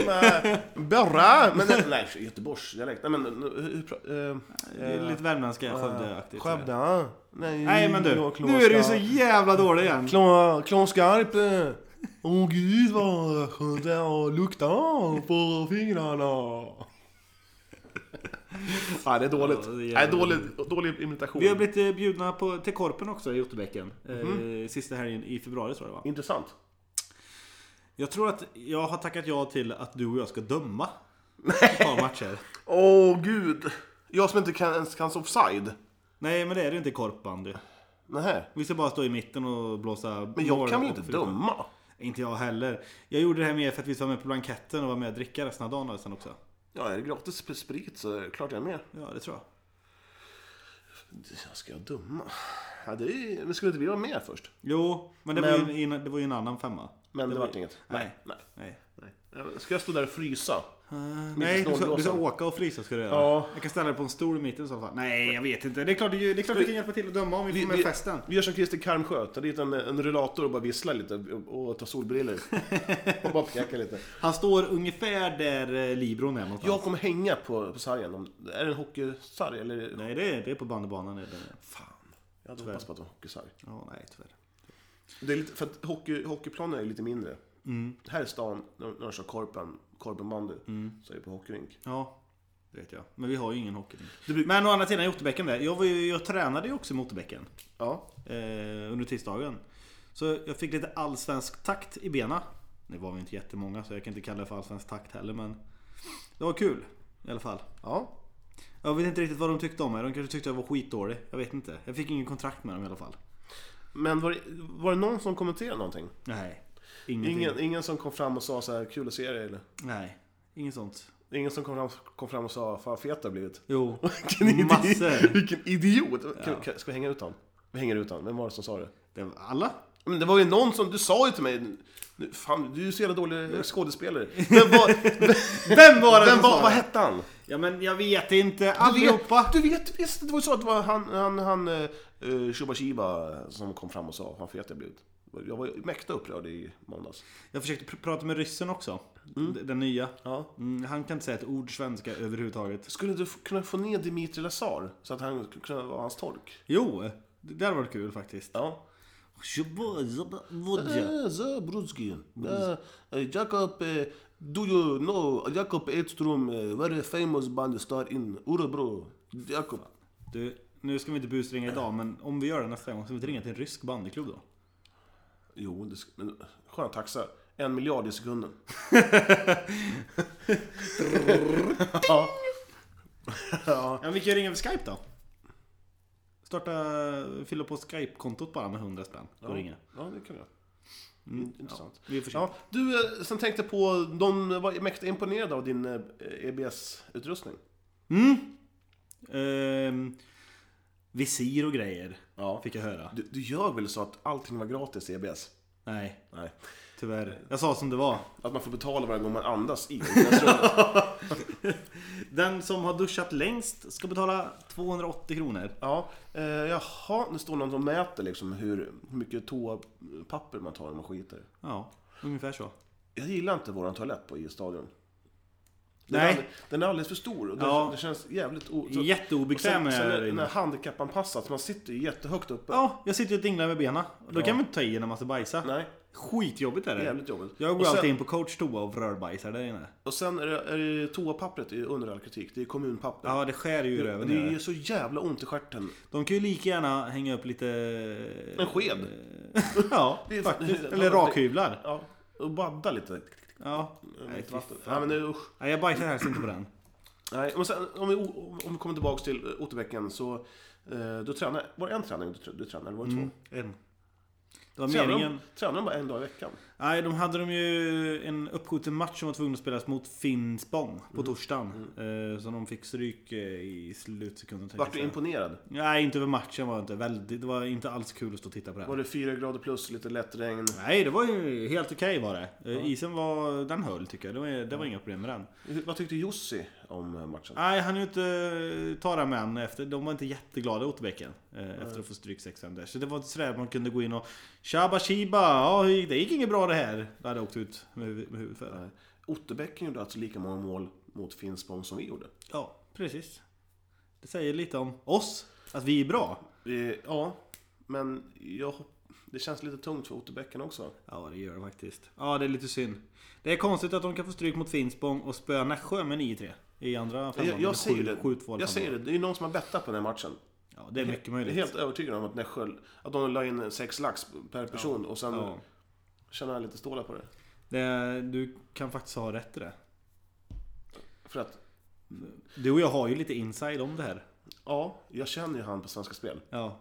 Speaker 1: Nej, Börra! Men nej, Göteborgsdialekt. Nej men... hur- hur pra- eh,
Speaker 2: Det är lite värmländska Skövdeaktigt.
Speaker 1: Skövde? Nej,
Speaker 2: Nej men du,
Speaker 1: jag
Speaker 2: nu är du ju så
Speaker 1: Klånska-
Speaker 2: jävla dålig igen.
Speaker 1: Klå- Klånskarp! eh. Åh gud vad skönt det är att lukta på fingrarna! Nej, det är dåligt.
Speaker 2: Ja, det är
Speaker 1: Nej,
Speaker 2: jävligt
Speaker 1: dålig, dålig imitation.
Speaker 2: Vi har blivit eh, bjudna på, till Korpen också i Otterbäcken.
Speaker 1: Mhm.
Speaker 2: Eh, sista helgen i februari tror jag det var.
Speaker 1: Intressant.
Speaker 2: Jag tror att jag har tackat ja till att du och jag ska döma. ett par matcher.
Speaker 1: Åh gud! Jag som inte kan, ens kan offside.
Speaker 2: Nej men det är det inte i korpbandy.
Speaker 1: Nähä.
Speaker 2: Vi ska bara stå i mitten och blåsa
Speaker 1: Men jag
Speaker 2: mål
Speaker 1: kan väl
Speaker 2: och
Speaker 1: inte
Speaker 2: förutom-
Speaker 1: döma?
Speaker 2: Inte jag heller. Jag gjorde det här mer för att vi var med på blanketten och var med och dricka resten av dagen och sen också.
Speaker 1: Ja, är det gratis på sprit så är det klart jag är med.
Speaker 2: Ja det tror jag.
Speaker 1: Jag ska jag döma? Ja, det är, men skulle inte vi vara med först?
Speaker 2: Jo, men det,
Speaker 1: Men-
Speaker 2: Var, ju, en- det var ju en annan femma.
Speaker 1: Men det,
Speaker 2: var-
Speaker 1: vart inget.
Speaker 2: Nej.
Speaker 1: Nej.
Speaker 2: Nej.
Speaker 1: Nej. Ja, Ska jag stå där och frysa?
Speaker 2: Nej, du ska, du ska
Speaker 1: snålblåsa.
Speaker 2: åka och frysa ska du göra.
Speaker 1: Ja.
Speaker 2: Jag kan ställa dig på en stol i mitten i så fall. Nej, jag vet inte. Det är klart, det är, ju- det är klart vi kan hjälpa till att döma om vi får med festen.
Speaker 1: vi gör som Christer Karmsjö, tar dit en, en rullator och bara visslar lite och, och tar solbriller Och bara pekar lite.
Speaker 2: Han står ungefär där eh, Libron är någonstans.
Speaker 1: Jag kommer hänga på, på sargen. Om, är det en hockeysarg eller?
Speaker 2: Nej, det är, det är på bandybanan. Är det.
Speaker 1: Fan. Jag hade hoppats på att det var en hockeysarg.
Speaker 2: Ja, nej tyvärr.
Speaker 1: Det är lite, för att hockey, hockeyplanen är lite mindre.
Speaker 2: Mm.
Speaker 1: Här i stan, när när de kör korpen, korpenbandy,
Speaker 2: Mm.
Speaker 1: så är det på hockeyrink.
Speaker 2: Ja, det vet jag. Men vi har ju ingen hockey.
Speaker 1: Det bruk-
Speaker 2: Men å andra sidan, i Otterbäcken där. Jag, var ju, jag tränade ju också i Otterbäcken
Speaker 1: Ja.
Speaker 2: eh, under tisdagen. Så jag fick lite allsvensk takt i bena. Det var vi inte jättemånga, så jag kan inte kalla det för allsvensk takt heller, men det var kul i alla fall.
Speaker 1: Ja.
Speaker 2: Jag vet inte riktigt vad de tyckte om mig. De kanske tyckte jag var skitdålig. Jag vet inte. Jag fick ingen kontrakt med dem i alla fall.
Speaker 1: Men var det, var det någon som kommenterade någonting?
Speaker 2: Nej. Ingenting.
Speaker 1: Ingen, ingen som kom fram och sa så här kul att se dig eller?
Speaker 2: Nej. Inget sånt.
Speaker 1: Ingen som kom fram, kom fram och sa fan vad fet du har blivit?
Speaker 2: Jo.
Speaker 1: Vilken idi-
Speaker 2: Massor.
Speaker 1: Vilken idiot! Kan, kan, ska vi hänga ut honom? Vi hänger ut honom. Vem var det som sa det?
Speaker 2: Det var alla.
Speaker 1: Men det var ju någon som, du sa ju till mig "Nu, Fan, du är ju så jävla dålig skådespelare. Men vad,
Speaker 2: Vem var
Speaker 1: vem
Speaker 2: som
Speaker 1: var,
Speaker 2: sa
Speaker 1: vad
Speaker 2: det?
Speaker 1: hette han?
Speaker 2: Ja men jag vet inte.
Speaker 1: Du
Speaker 2: Allihopa.
Speaker 1: vet, du vet visst, det var ju så att det var han, han, han eh, eh, Shubba Shiba som kom fram och sa fan fet jag har blivit. Jag var ju mäkta upprörd i måndags.
Speaker 2: Jag försökte pr- prata med ryssen också. D- Den nya.
Speaker 1: Ja.
Speaker 2: Mm, han kan inte säga ett ord svenska överhuvudtaget.
Speaker 1: Skulle du f- kunna få ner Dimitri Lazar så att han kunde vara hans tolk?
Speaker 2: Jo, det där var kul faktiskt.
Speaker 1: Ja.
Speaker 2: Vodja.
Speaker 1: Eh, Zabrudski. Eh, eh, Jakob, eh, do you know Jakob Edström, eh, very famous band star in Örebro? Jakob.
Speaker 2: Du, nu ska vi inte busringa idag men om vi gör det nästa gång ska vi inte ringa till en rysk bandyklubb då?
Speaker 1: Jo, det sk- men, skön taxa. En miljard i sekunden.
Speaker 2: Ja, vi kan ju ringa över Skype då. Starta, fylla på Skype-kontot bara med 100 spänn och ringa.
Speaker 1: Ja, det kan jag. Intressant.
Speaker 2: Vi är för
Speaker 1: Ja, du, eh, sen tänkte jag på, eh, de var mäkta imponerade av din eh, EBS-utrustning.
Speaker 2: Ehm, visir och grejer
Speaker 1: Ja.
Speaker 2: fick jag höra.
Speaker 1: Du, du gör väl så att allting var gratis i E EBS?
Speaker 2: Nej,
Speaker 1: Nej.
Speaker 2: tyvärr. Jag sa som det var.
Speaker 1: Att man får betala varje gång man andas in. Jag tror-
Speaker 2: Den som har duschat längst ska betala 280 kronor.
Speaker 1: Ja, eh, jaha, nu står någon och mäter liksom hur, hur mycket toapapper man tar när man skiter.
Speaker 2: Ja, ungefär så.
Speaker 1: Jag gillar inte våran toalett på EU-stadion. Den,
Speaker 2: Nej.
Speaker 1: Är alldeles, den är alldeles för stor och den,
Speaker 2: Ja.
Speaker 1: det känns jävligt... O,
Speaker 2: Jätteobekväm
Speaker 1: och sen,
Speaker 2: är
Speaker 1: sen
Speaker 2: jag
Speaker 1: är den
Speaker 2: inne.
Speaker 1: här handikappanpassad, så man sitter ju jättehögt uppe.
Speaker 2: Ja, jag sitter och dinglar med benen. Då kan man inte ta i när man ska bajsa.
Speaker 1: Nej,
Speaker 2: Skitjobbigt är det.
Speaker 1: jävligt jobbigt.
Speaker 2: Jag
Speaker 1: och,
Speaker 2: går
Speaker 1: sen,
Speaker 2: alltid in på coach toa och rörbajsar där inne.
Speaker 1: och sen är det, är det toapappret är ju under all kritik. Det är kommunpapper.
Speaker 2: Ja, det skär ju i
Speaker 1: och
Speaker 2: röven.
Speaker 1: det
Speaker 2: gör
Speaker 1: är
Speaker 2: det.
Speaker 1: ju så jävla ont i stjärten.
Speaker 2: De kan ju lika gärna hänga upp lite...
Speaker 1: En sked.
Speaker 2: ja,
Speaker 1: Det är-
Speaker 2: faktiskt.
Speaker 1: det-
Speaker 2: Eller rakhyvlar.
Speaker 1: Ja, och badda lite.
Speaker 2: Ja.
Speaker 1: Nej,
Speaker 2: Nej, fy
Speaker 1: vatten.
Speaker 2: fan.
Speaker 1: Nej, men det är usch.
Speaker 2: Nej, jag bajsar helst inte på den.
Speaker 1: Nej, men sen, om, vi, om vi kommer tillbaka till eh, Otterbäcken så eh, du tränade, var det en träning du, du tränade eller var det två?
Speaker 2: En. Det var
Speaker 1: Tränade
Speaker 2: Mm. meningen.
Speaker 1: de, tränade de bara en dag i veckan?
Speaker 2: Nej, de hade de ju en uppskjuten match som var tvungen att spelas mot Finspång
Speaker 1: Mm.
Speaker 2: på torsdagen. Eh, som de fick stryk eh, i slutsekunden. tänkte
Speaker 1: Vart du
Speaker 2: jag säga.
Speaker 1: imponerad?
Speaker 2: Nej, inte över matchen var jag inte. Väldigt, det var inte alls kul att stå och titta på det.
Speaker 1: Var det fyra grader plus, lite lätt regn?
Speaker 2: Nej, det var ju helt okej var det. Eh, Isen var... Den höll tycker jag. Det var, det var inga problem med den.
Speaker 1: Hur- Vad tyckte Jussi om eh, matchen?
Speaker 2: Nej, han ju inte eh, ta det här med honom efter. De var inte jätteglada Otterbäcken. Eh, efter att få stryk 6 där. Så det var inte sådär att man kunde gå in och... Tjaba tjiba! Ja, det gick inget bra det här. Då hade jag åkt ut med, huvud- med huvudet för det.
Speaker 1: Otterbäcken gjorde alltså lika många mål mot Finspång som vi gjorde.
Speaker 2: Ja, precis. Det säger lite om oss. Att vi är bra.
Speaker 1: Eh, ja, men jag, hop- det känns lite tungt för Otterbäcken också.
Speaker 2: Ja, det gör det faktiskt. Ja, det är lite synd. Det är konstigt att de kan få stryk mot Finspång och spöa Nässjö med 9-3. I andra femman.
Speaker 1: Jag,
Speaker 2: eller
Speaker 1: jag säger
Speaker 2: sju-
Speaker 1: det,
Speaker 2: sju-två eller
Speaker 1: jag
Speaker 2: femman.
Speaker 1: säger det, det är ju någon som har bettat på den här matchen.
Speaker 2: Ja, det är mycket
Speaker 1: Jag är
Speaker 2: möjligt.
Speaker 1: helt övertygad om att Nässjö, att de la in sex lax per person och sen
Speaker 2: Ja.
Speaker 1: tjänar han lite stålar på det.
Speaker 2: Det, du kan faktiskt ha rätt i det.
Speaker 1: För att,
Speaker 2: Du och jag har ju lite inside om det här.
Speaker 1: ja, jag känner ju han på Svenska Spel.
Speaker 2: Ja.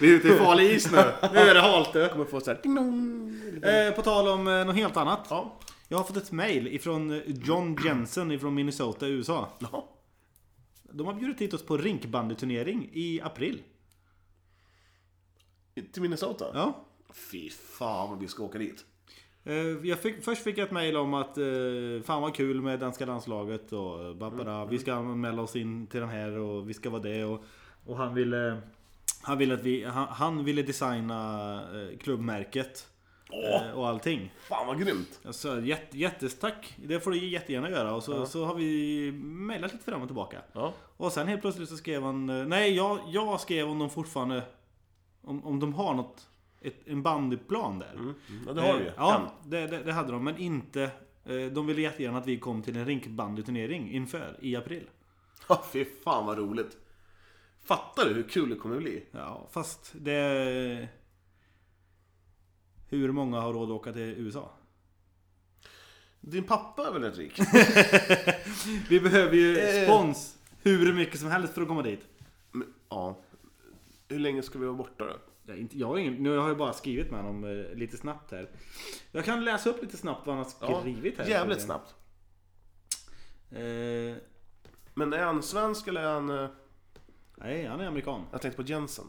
Speaker 1: Vi är ute i farlig is nu.
Speaker 2: Nu är det halt du.
Speaker 1: eh. Kommer få så här, ding dong.
Speaker 2: Eh, på tal om eh, något helt annat.
Speaker 1: Ja.
Speaker 2: Jag har fått ett mail ifrån eh, John Jensen ifrån Minnesota, USA.
Speaker 1: Ja.
Speaker 2: De har bjudit hit oss på rinkbandyturnering i april.
Speaker 1: Till Minnesota?
Speaker 2: Ja.
Speaker 1: Fy fan vad vi ska åka dit.
Speaker 2: Eh, Jag fick, först fick jag ett mail om att eh, fan vad kul med danska landslaget och eh, babara, vi ska anmäla oss in till den här och vi ska vara det och, och han ville han ville, att vi, han, han ville designa eh, klubbmärket
Speaker 1: Åh.
Speaker 2: eh, och allting.
Speaker 1: Fan vad grymt.
Speaker 2: Jag sa jätte, jättestack, det får du jättegärna göra och så, så har vi mejlat lite fram och tillbaka.
Speaker 1: Ja.
Speaker 2: Och sen helt plötsligt så skrev han, eh, nej jag, jag skrev om de fortfarande, om, om de har något, ett, en bandyplan där.
Speaker 1: Mm, Ja, det har
Speaker 2: Eh,
Speaker 1: vi ju.
Speaker 2: Ja,
Speaker 1: En.
Speaker 2: det, det, det hade de. Men inte... eh, De ville jättegärna att vi kom till en rinkbandyturnering inför i april.
Speaker 1: Ja, fy fan vad roligt. Fattar du hur kul det kommer bli?
Speaker 2: Ja, fast det... Hur många har råd att åka till USA?
Speaker 1: Din pappa är väl rätt rik?
Speaker 2: Vi behöver ju
Speaker 1: Eh.
Speaker 2: spons hur mycket som helst för att komma dit.
Speaker 1: Men, ja. Hur länge ska vi vara borta då?
Speaker 2: Jag, inte, jag, har ingen, nu har jag bara skrivit med honom eh, lite snabbt här. Jag kan läsa upp lite snabbt vad han har skrivit här.
Speaker 1: jävligt snabbt.
Speaker 2: Eh,
Speaker 1: Men är han svensk eller är han... eh,
Speaker 2: nej, han är amerikan.
Speaker 1: Jag tänkte på Jensen.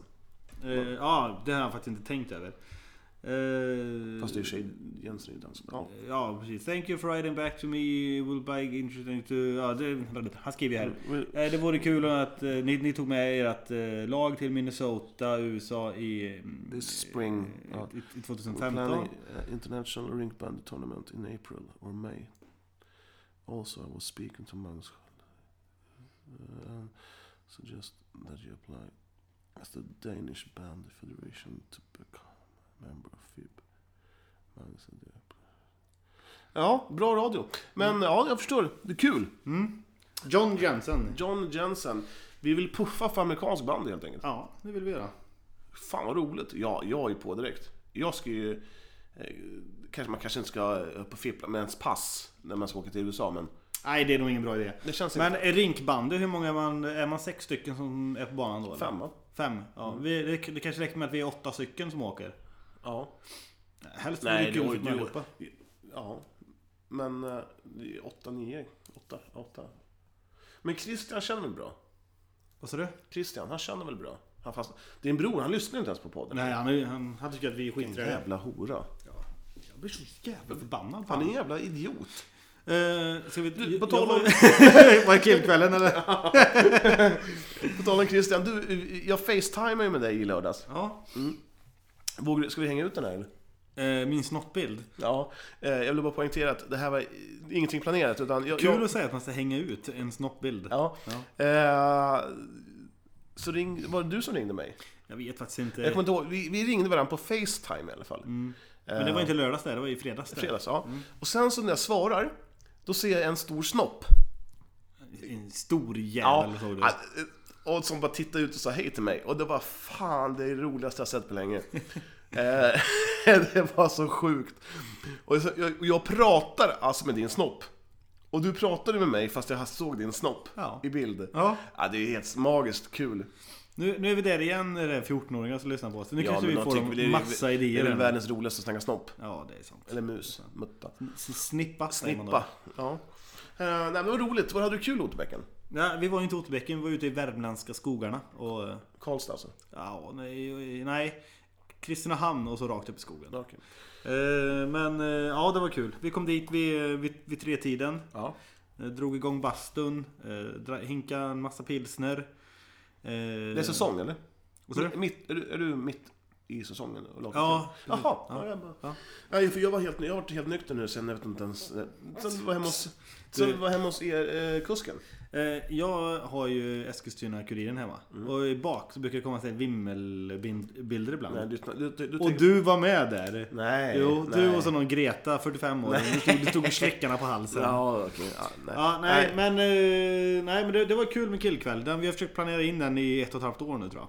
Speaker 2: Eh, ja, det har jag faktiskt inte tänkt över. Eh,
Speaker 1: Fast det är ju tjej. Jensen är ju dansk. Ja.
Speaker 2: Ja, precis. Thank you for writing back to me. It will be interesting to... Ja, det, han skriver ju här.
Speaker 1: Mm.
Speaker 2: Eh, Det vore kul att eh, ni, ni tog med ert eh, lag till Minnesota, USA i, mm,
Speaker 1: This spring. Ja.
Speaker 2: i, i
Speaker 1: We're
Speaker 2: 2015.
Speaker 1: planning uh, international rink band tournament in April or May. Also, I was speaking to Magnus Sköld. Uh, and suggest that you apply As the Danish Band Federation to become a member of FIB. Magnus and the- Ja, bra radio. Men ja, jag förstår. Det är kul.
Speaker 2: Mm? John Jensen.
Speaker 1: John Jensen. Vi vill puffa för amerikansk band helt enkelt.
Speaker 2: Ja, det vill vi göra.
Speaker 1: Fan vad roligt. Ja, jag är på direkt. Jag ska ju... Eh, kanske, man kanske inte ska upp och fippla med ens pass när man ska åka till USA, men...
Speaker 2: Nej, det är nog ingen bra idé.
Speaker 1: Det känns
Speaker 2: Men rinkbandy, hur många är man? Är man sex stycken som är på banan då? eller?
Speaker 1: Fem, Mm. va?
Speaker 2: Fem? Ja. Vi, det, det kanske räcker med att vi är åtta stycken som åker.
Speaker 1: Ja.
Speaker 2: Helst
Speaker 1: Nej,
Speaker 2: vore det kul
Speaker 1: det-
Speaker 2: för
Speaker 1: det-
Speaker 2: allihopa.
Speaker 1: Ja. Men eh, det är åtta, nio. Åtta, åtta. Men Christian känner väl bra?
Speaker 2: Vad sa du?
Speaker 1: Christian, han känner väl bra? Han fast... Din bror, han lyssnar inte ens på podden.
Speaker 2: Nej, han, är- han, han tycker att vi är skittröga.
Speaker 1: Jävla hora.
Speaker 2: Jag blir så jävla förbannad på
Speaker 1: Han är en
Speaker 2: honom.
Speaker 1: jävla idiot.
Speaker 2: Eh, ska vi... Du,
Speaker 1: på tal om-
Speaker 2: Var det killkvällen eller?
Speaker 1: På tal om Christian, du, jag facetimade ju med dig i lördags.
Speaker 2: Ja.
Speaker 1: Vågar du- Ska vi hänga ut den här eller?
Speaker 2: Eh, min snoppbild.
Speaker 1: Ja, eh, jag vill bara poängtera att det här var eh, ingenting planerat utan... Jag,
Speaker 2: Kul
Speaker 1: jag,
Speaker 2: att säga att man ska hänga ut en snoppbild.
Speaker 1: Ja. Eh, så ring, var det du som ringde mig?
Speaker 2: Jag vet faktiskt inte.
Speaker 1: Jag kommer inte ihåg, vi, vi ringde varandra på Facetime i alla fall.
Speaker 2: Men det var inte lördags där, det var i fredags Mm, där.
Speaker 1: Eh.
Speaker 2: Mm.
Speaker 1: Fredags, ja. Och sen så när jag svarar, då ser jag en stor snopp.
Speaker 2: En stor jävel såg du.
Speaker 1: Ja, alltså, och som bara tittade ut och sa hej till mig. Och det var fan det är det roligaste jag sett på länge. Eh, det var så sjukt. Och så- jag, och jag pratar alltså med din snopp. Och du pratade med mig fast jag såg din snopp
Speaker 2: Ja.
Speaker 1: i bild.
Speaker 2: Ja.
Speaker 1: det är helt magiskt kul.
Speaker 2: Nu, nu är vi där igen, är det 14-åringar som lyssnar på oss. Nu kanske vi
Speaker 1: men de
Speaker 2: får
Speaker 1: tycker
Speaker 2: dem
Speaker 1: väl det är-
Speaker 2: massa idéer.
Speaker 1: Det är väl
Speaker 2: än.
Speaker 1: världens roligaste att snacka snopp.
Speaker 2: Ja, det är sant.
Speaker 1: Eller mus, mutta,
Speaker 2: S- Snippa, säger man då.
Speaker 1: snippa. Ja. Eh, nej, men vad roligt. Var hade du kul Otterbäcken?
Speaker 2: Ja, vi var ju inte i Otterbäcken, vi var ute i värmländska skogarna. Och, eh,
Speaker 1: Karlstad alltså?
Speaker 2: ja, nej, nej. Kristinehamn och så rakt upp i skogen.
Speaker 1: Ja, okej.
Speaker 2: Eh, men eh, ja, det var kul. Vi kom dit vid, vid, vid tretiden.
Speaker 1: Ja.
Speaker 2: Eh, Drog igång bastun, eh, dra- hinkade en massa pilsner. Eh,
Speaker 1: Det är säsong eller?
Speaker 2: Vad sa du?
Speaker 1: Mi- Mitt, är, du, är du mitt i säsongen? Och lagar
Speaker 2: Ja,
Speaker 1: kul? Jaha. Ja. Jag, bara,
Speaker 2: Ja.
Speaker 1: Nej, för jag, var helt, jag har varit helt nykter nu sen jag vet inte ens... eh, Sen var jag hemma hos, sen var jag hemma hos er, eh, kusken.
Speaker 2: Eh, Jag har ju Eskilstuna-Kuriren hemma.
Speaker 1: Mm.
Speaker 2: Och i bak så brukar det komma så här vimmelbilder ibland.
Speaker 1: Nej, du, du, du, du,
Speaker 2: och du var med där.
Speaker 1: Nej,
Speaker 2: jo,
Speaker 1: nej.
Speaker 2: du och så någon Greta, 45 år. Du stod, du stod och släckarna på halsen.
Speaker 1: Ja, okej. Ja, nej.
Speaker 2: Ja, nej, men, eh, nej, men det, det var kul med killkväll. Den, vi har försökt planera in den i ett och ett halvt år nu tror jag.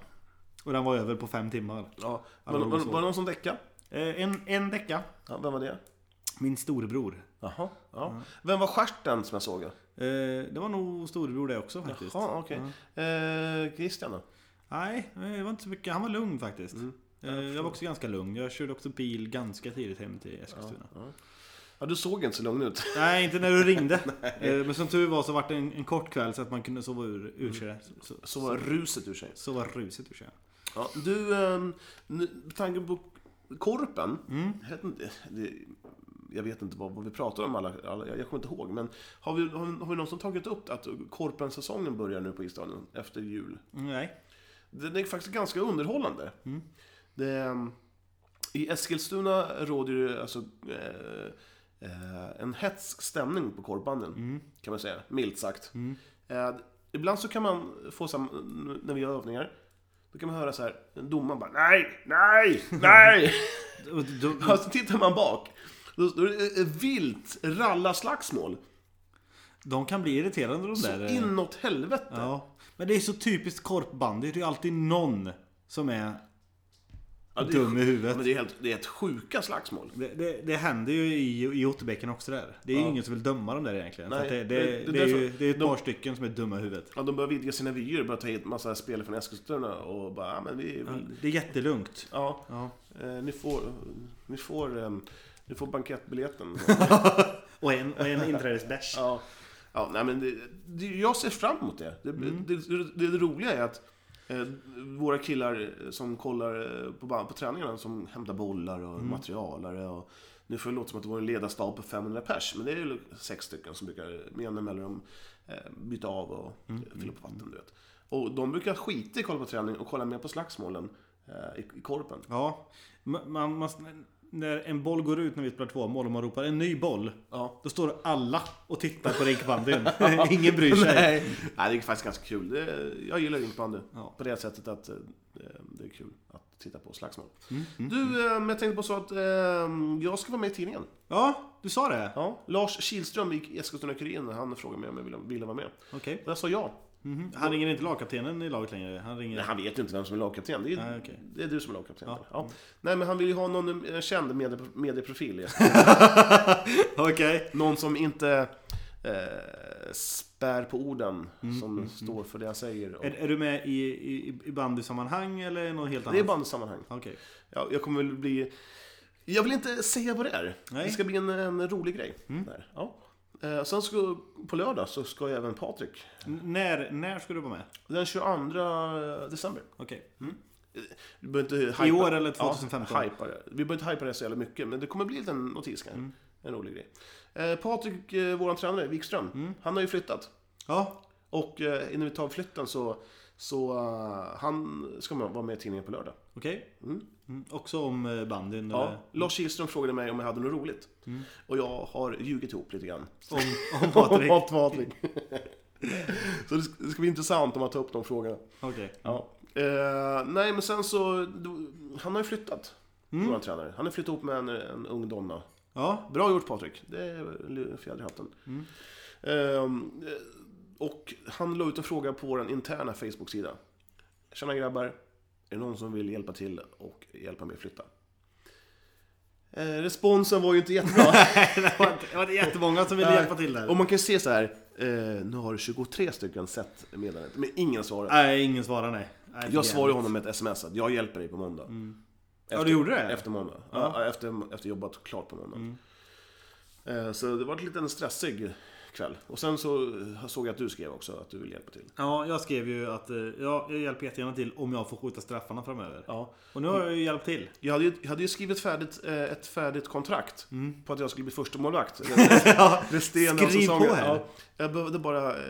Speaker 2: Och den var över på fem timmar.
Speaker 1: Ja. Var,
Speaker 2: Ja, det
Speaker 1: var,
Speaker 2: var
Speaker 1: var,
Speaker 2: så.
Speaker 1: det någon som däckade?
Speaker 2: Eh, En, en vecka.
Speaker 1: Ja, vem var det?
Speaker 2: Min storebror.
Speaker 1: Jaha. Ja. Vem var stjärten som jag såg? Jaha,
Speaker 2: Eh, Det var nog storebror det också faktiskt.
Speaker 1: okej. Eh, Christian då?
Speaker 2: Nej, det var inte så mycket. Han var lugn faktiskt. Eh, Jag var också ganska lugn. Jag körde också bil ganska tidigt hem till Eskilstuna.
Speaker 1: Ja, du såg inte så lugn ut.
Speaker 2: Nej, inte när du ringde. Eh, Men som tur var så var det en, en kort kväll så att man kunde sova ur, ur sig. Så,
Speaker 1: Så var ruset ur sig.
Speaker 2: sova ruset ur sig.
Speaker 1: Ja, du, ehm, nu, med tanke på Korpen. Jag, vet inte, det, jag vet inte vad, vad vi pratar om alla, alla jag, jag kommer inte ihåg. Men har vi, har, vi- har vi någon som tagit upp att Korpen-säsongen börjar nu på Isstadion efter jul?
Speaker 2: Nej.
Speaker 1: Den är faktiskt ganska underhållande. Det, ehm, I Eskilstuna råder ju alltså eh, eh, en hetsk stämning på korpbanden. Kan man säga, milt sagt. Eh, ibland så kan man få, så här, n- när vi gör övningar, då kan man höra så här, domaren bara nej, nej, nej.
Speaker 2: Och då- då-
Speaker 1: Och så tittar man bak. Då, då är det eh, vilt rallarslagsmål.
Speaker 2: De kan bli irriterande de där.
Speaker 1: Så
Speaker 2: eh.
Speaker 1: inåt helvete.
Speaker 2: Ja. Men det är så typiskt korpbandy. Det är ju alltid någon som är
Speaker 1: det är-
Speaker 2: dum i huvudet.
Speaker 1: Men det är helt, det är ett sjuka slagsmål.
Speaker 2: Det, det, det händer ju i, i Otterbäcken också där. Det är ju ingen som vill döma dem där egentligen.
Speaker 1: Nej,
Speaker 2: för att det,
Speaker 1: det- det
Speaker 2: det, det,
Speaker 1: är
Speaker 2: är
Speaker 1: därför-
Speaker 2: ju det är ett
Speaker 1: de-
Speaker 2: par stycken som är dumma i huvudet.
Speaker 1: Ja, de börjar vidga sina vyer och börjar ta hit massa spelare från Eskilstuna och bara, ja men vi... Ja,
Speaker 2: Det är jättelugnt.
Speaker 1: ja,
Speaker 2: Ja.
Speaker 1: eh, ni får... Ni får, eh, ni får bankettbiljetten.
Speaker 2: Och en, och en inträdesbärs.
Speaker 1: ja. ja, nej men det, det, jag ser fram emot det. Det, det, det, det roliga är att eh, våra killar som kollar eh, på, ba- på träningarna, som hämtar bollar och materialare och... Nu får det låta som att det var en ledarstab på 500 pers, men det är ju liksom sex stycken som brukar med jämna mellanrum eh, byta av och eh, fylla på vatten, du vet. Och de brukar skita i kolla på träning och kolla mer på slagsmålen eh, i, i korpen.
Speaker 2: Ja. Man, man, man, när en boll går ut när vi spelar två mål och man ropar en ny boll.
Speaker 1: Ja.
Speaker 2: Då står alla och tittar på rinkbandyn. Ingen bryr sig.
Speaker 1: Nej, det är faktiskt ganska kul. Det, jag gillar rinkbandy
Speaker 2: Ja.
Speaker 1: på det sättet att eh, det, det är kul att titta på slagsmål.
Speaker 2: Mm,
Speaker 1: du, eh, men jag tänkte på så att eh, jag ska vara med i tidningen.
Speaker 2: Ja, du sa det?
Speaker 1: Ja. Lars Kihlström i Eskilstuna-Kuriren, han frågade mig om jag ville, ville vara med.
Speaker 2: Okej.
Speaker 1: Och jag sa ja.
Speaker 2: Mhm. Han ringer inte lagkaptenen i laget längre? Han ringer...
Speaker 1: Nej, han vet ju inte vem som är lagkapten. Det är,
Speaker 2: Nej, okej.
Speaker 1: det är du som är lagkapten.
Speaker 2: Ja. mm.
Speaker 1: Ja. Nej, men han vill ju ha någon eh, känd medie, medieprofil. i
Speaker 2: Okej.
Speaker 1: Någon som inte eh, spär på orden som står för det han säger. Och
Speaker 2: Mm, Är, är du med i, i, i bandysammanhang eller något helt annat?
Speaker 1: det är bara ett sammanhang.
Speaker 2: Okej.
Speaker 1: Jag, jag kommer väl bli... Jag vill inte säga vad det är.
Speaker 2: Nej. Mm.
Speaker 1: Det ska bli en, en rolig grej. Där. Ja. Eh, sen ska, på lördag så ska jag även Patrik.
Speaker 2: N- När, när ska du vara med?
Speaker 1: Den 22 december.
Speaker 2: Okej.
Speaker 1: Vi behöver inte
Speaker 2: I år eller 2015?
Speaker 1: Ja, hypa det. Vi behöver inte hypa det så jävla mycket, men det kommer bli en liten notis kanske.
Speaker 2: Mm.
Speaker 1: En rolig grej. Eh, Patrik, eh, vår tränare, Wikström,
Speaker 2: Mm.
Speaker 1: han har ju flyttat.
Speaker 2: Ja.
Speaker 1: Och eh, innan vi tar flytten så, så eh, han ska man vara med i tidningen på lördag.
Speaker 2: Okej.
Speaker 1: Mm.
Speaker 2: Mm. Också om eh, bandyn?
Speaker 1: Ja,
Speaker 2: Eller?
Speaker 1: Lars Kihlström frågade mig om jag hade något roligt.
Speaker 2: Mm.
Speaker 1: Och jag har ljugit ihop lite grann.
Speaker 2: Om, om Patrik?
Speaker 1: Om matmatning. så det ska, det ska bli intressant om man tar upp de frågorna.
Speaker 2: Okej.
Speaker 1: Ja. Eh, nej, men sen så... då- Han har ju flyttat, vår tränare. Han har flyttat ihop med en, en ung donna.
Speaker 2: Ja.
Speaker 1: Bra gjort Patrik, det är en fjäder i hatten. Ehm, eh, och han la ut en fråga på vår interna Facebook-sida. Tjena grabbar, är det någon som vill hjälpa till och hjälpa mig flytta? Eh, responsen var ju inte jättebra.
Speaker 2: Det var, inte- det var inte jättemånga som ville hjälpa till där.
Speaker 1: Och man kan ju se så här, eh, nu har 23 stycken sett meddelandet, men ingen svarar.
Speaker 2: Nej, ingen svarar nej. nej för
Speaker 1: Jag svarade
Speaker 2: jävligt. Mm.
Speaker 1: honom med ett sms att jag hjälper dig på måndag.
Speaker 2: Ja, du gjorde det?
Speaker 1: Efter måndag. Ja. efter, efter jobbat klart på måndag.
Speaker 2: Mm.
Speaker 1: Eh, Så det var en liten stressig kväll. Och sen så eh, såg jag att du skrev också att du vill hjälpa till.
Speaker 2: Ja, jag skrev ju att eh, ja, jag hjälper jättegärna till om jag får skjuta straffarna framöver.
Speaker 1: Ja.
Speaker 2: Och nu har jag ju hjälpt till.
Speaker 1: Jag hade ju, jag hade ju skrivit färdigt, eh, ett färdigt kontrakt på att jag skulle bli första målvakt. Resten av
Speaker 2: Skriv
Speaker 1: säsongen.
Speaker 2: på Mm. här.
Speaker 1: Ja, jag behövde bara eh,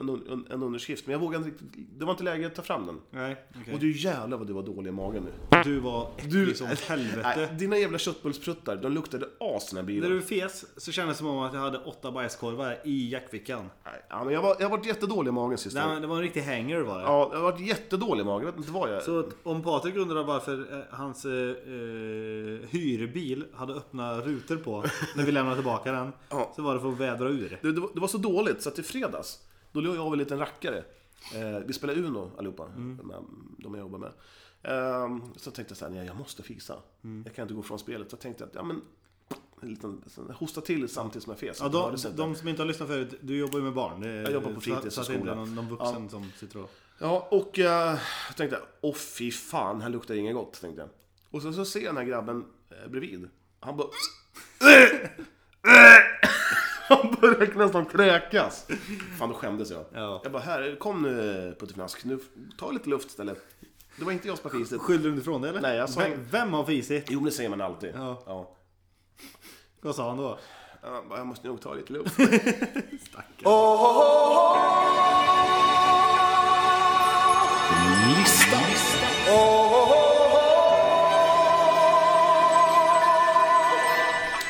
Speaker 1: en, en, en underskrift, men jag vågade inte riktigt. Det var inte läge att ta fram den.
Speaker 2: Nej, okej.
Speaker 1: Och du jävlar vad du var dålig i magen nu.
Speaker 2: Du var äcklig som helvete.
Speaker 1: Nej, dina jävla köttbullspruttar, de luktade as när
Speaker 2: När
Speaker 1: bilen.
Speaker 2: du fes så kändes det som om att jag hade åtta bajskorvar i jackfickan.
Speaker 1: Nej, ja, men jag, var, jag har varit jättedålig i magen sist.
Speaker 2: Det, här- det var en riktig hanger var det.
Speaker 1: Ja, jag har varit jättedålig i magen. Jag vet inte vad jag...
Speaker 2: Så att om Patrik undrar varför eh, hans eh, eh, hyrbil hade öppna rutor på när vi lämnade tillbaka den.
Speaker 1: Ja.
Speaker 2: Så var det för att vädra ur.
Speaker 1: Det, det, var, det var så dåligt så att i fredags, då låg jag av en liten rackare. Eh, vi spelar Uno allihopa,
Speaker 2: Mm.
Speaker 1: med, de jag jobbar med. Ehm, så tänkte jag så här, nej jag måste fixa.
Speaker 2: Mm.
Speaker 1: Jag kan inte gå från spelet. Så tänkte jag att, ja men... En liten, så- hosta till samtidigt som jag fes.
Speaker 2: Ja,
Speaker 1: Det
Speaker 2: de,
Speaker 1: hördes inte.
Speaker 2: de som inte har lyssnat förut, du jobbar ju med barn. Det,
Speaker 1: Jag jobbar på fritids
Speaker 2: så,
Speaker 1: och
Speaker 2: så att det inte är
Speaker 1: skola.
Speaker 2: någon, någon vuxen som sitter och...
Speaker 1: Ja, och eh, jag tänkte, åh fy fan, här luktar inget gott, tänkte jag. Och sen så ser jag den här grabben eh, bredvid. Han bara... Han börjar nästan kräkas. Fan, då skämdes jag.
Speaker 2: Ja.
Speaker 1: Jag bara, här, kom nu Puttefnask, nu ta lite luft istället. Det var inte jag som var fiset.
Speaker 2: Skyller du inte ifrån det eller?
Speaker 1: Nej, jag sa-
Speaker 2: vem, vem har fisit?
Speaker 1: Jo, men det säger man alltid.
Speaker 2: Ja.
Speaker 1: Ja.
Speaker 2: Vad sa han då?
Speaker 1: Jag, bara, jag måste nog ta lite luft.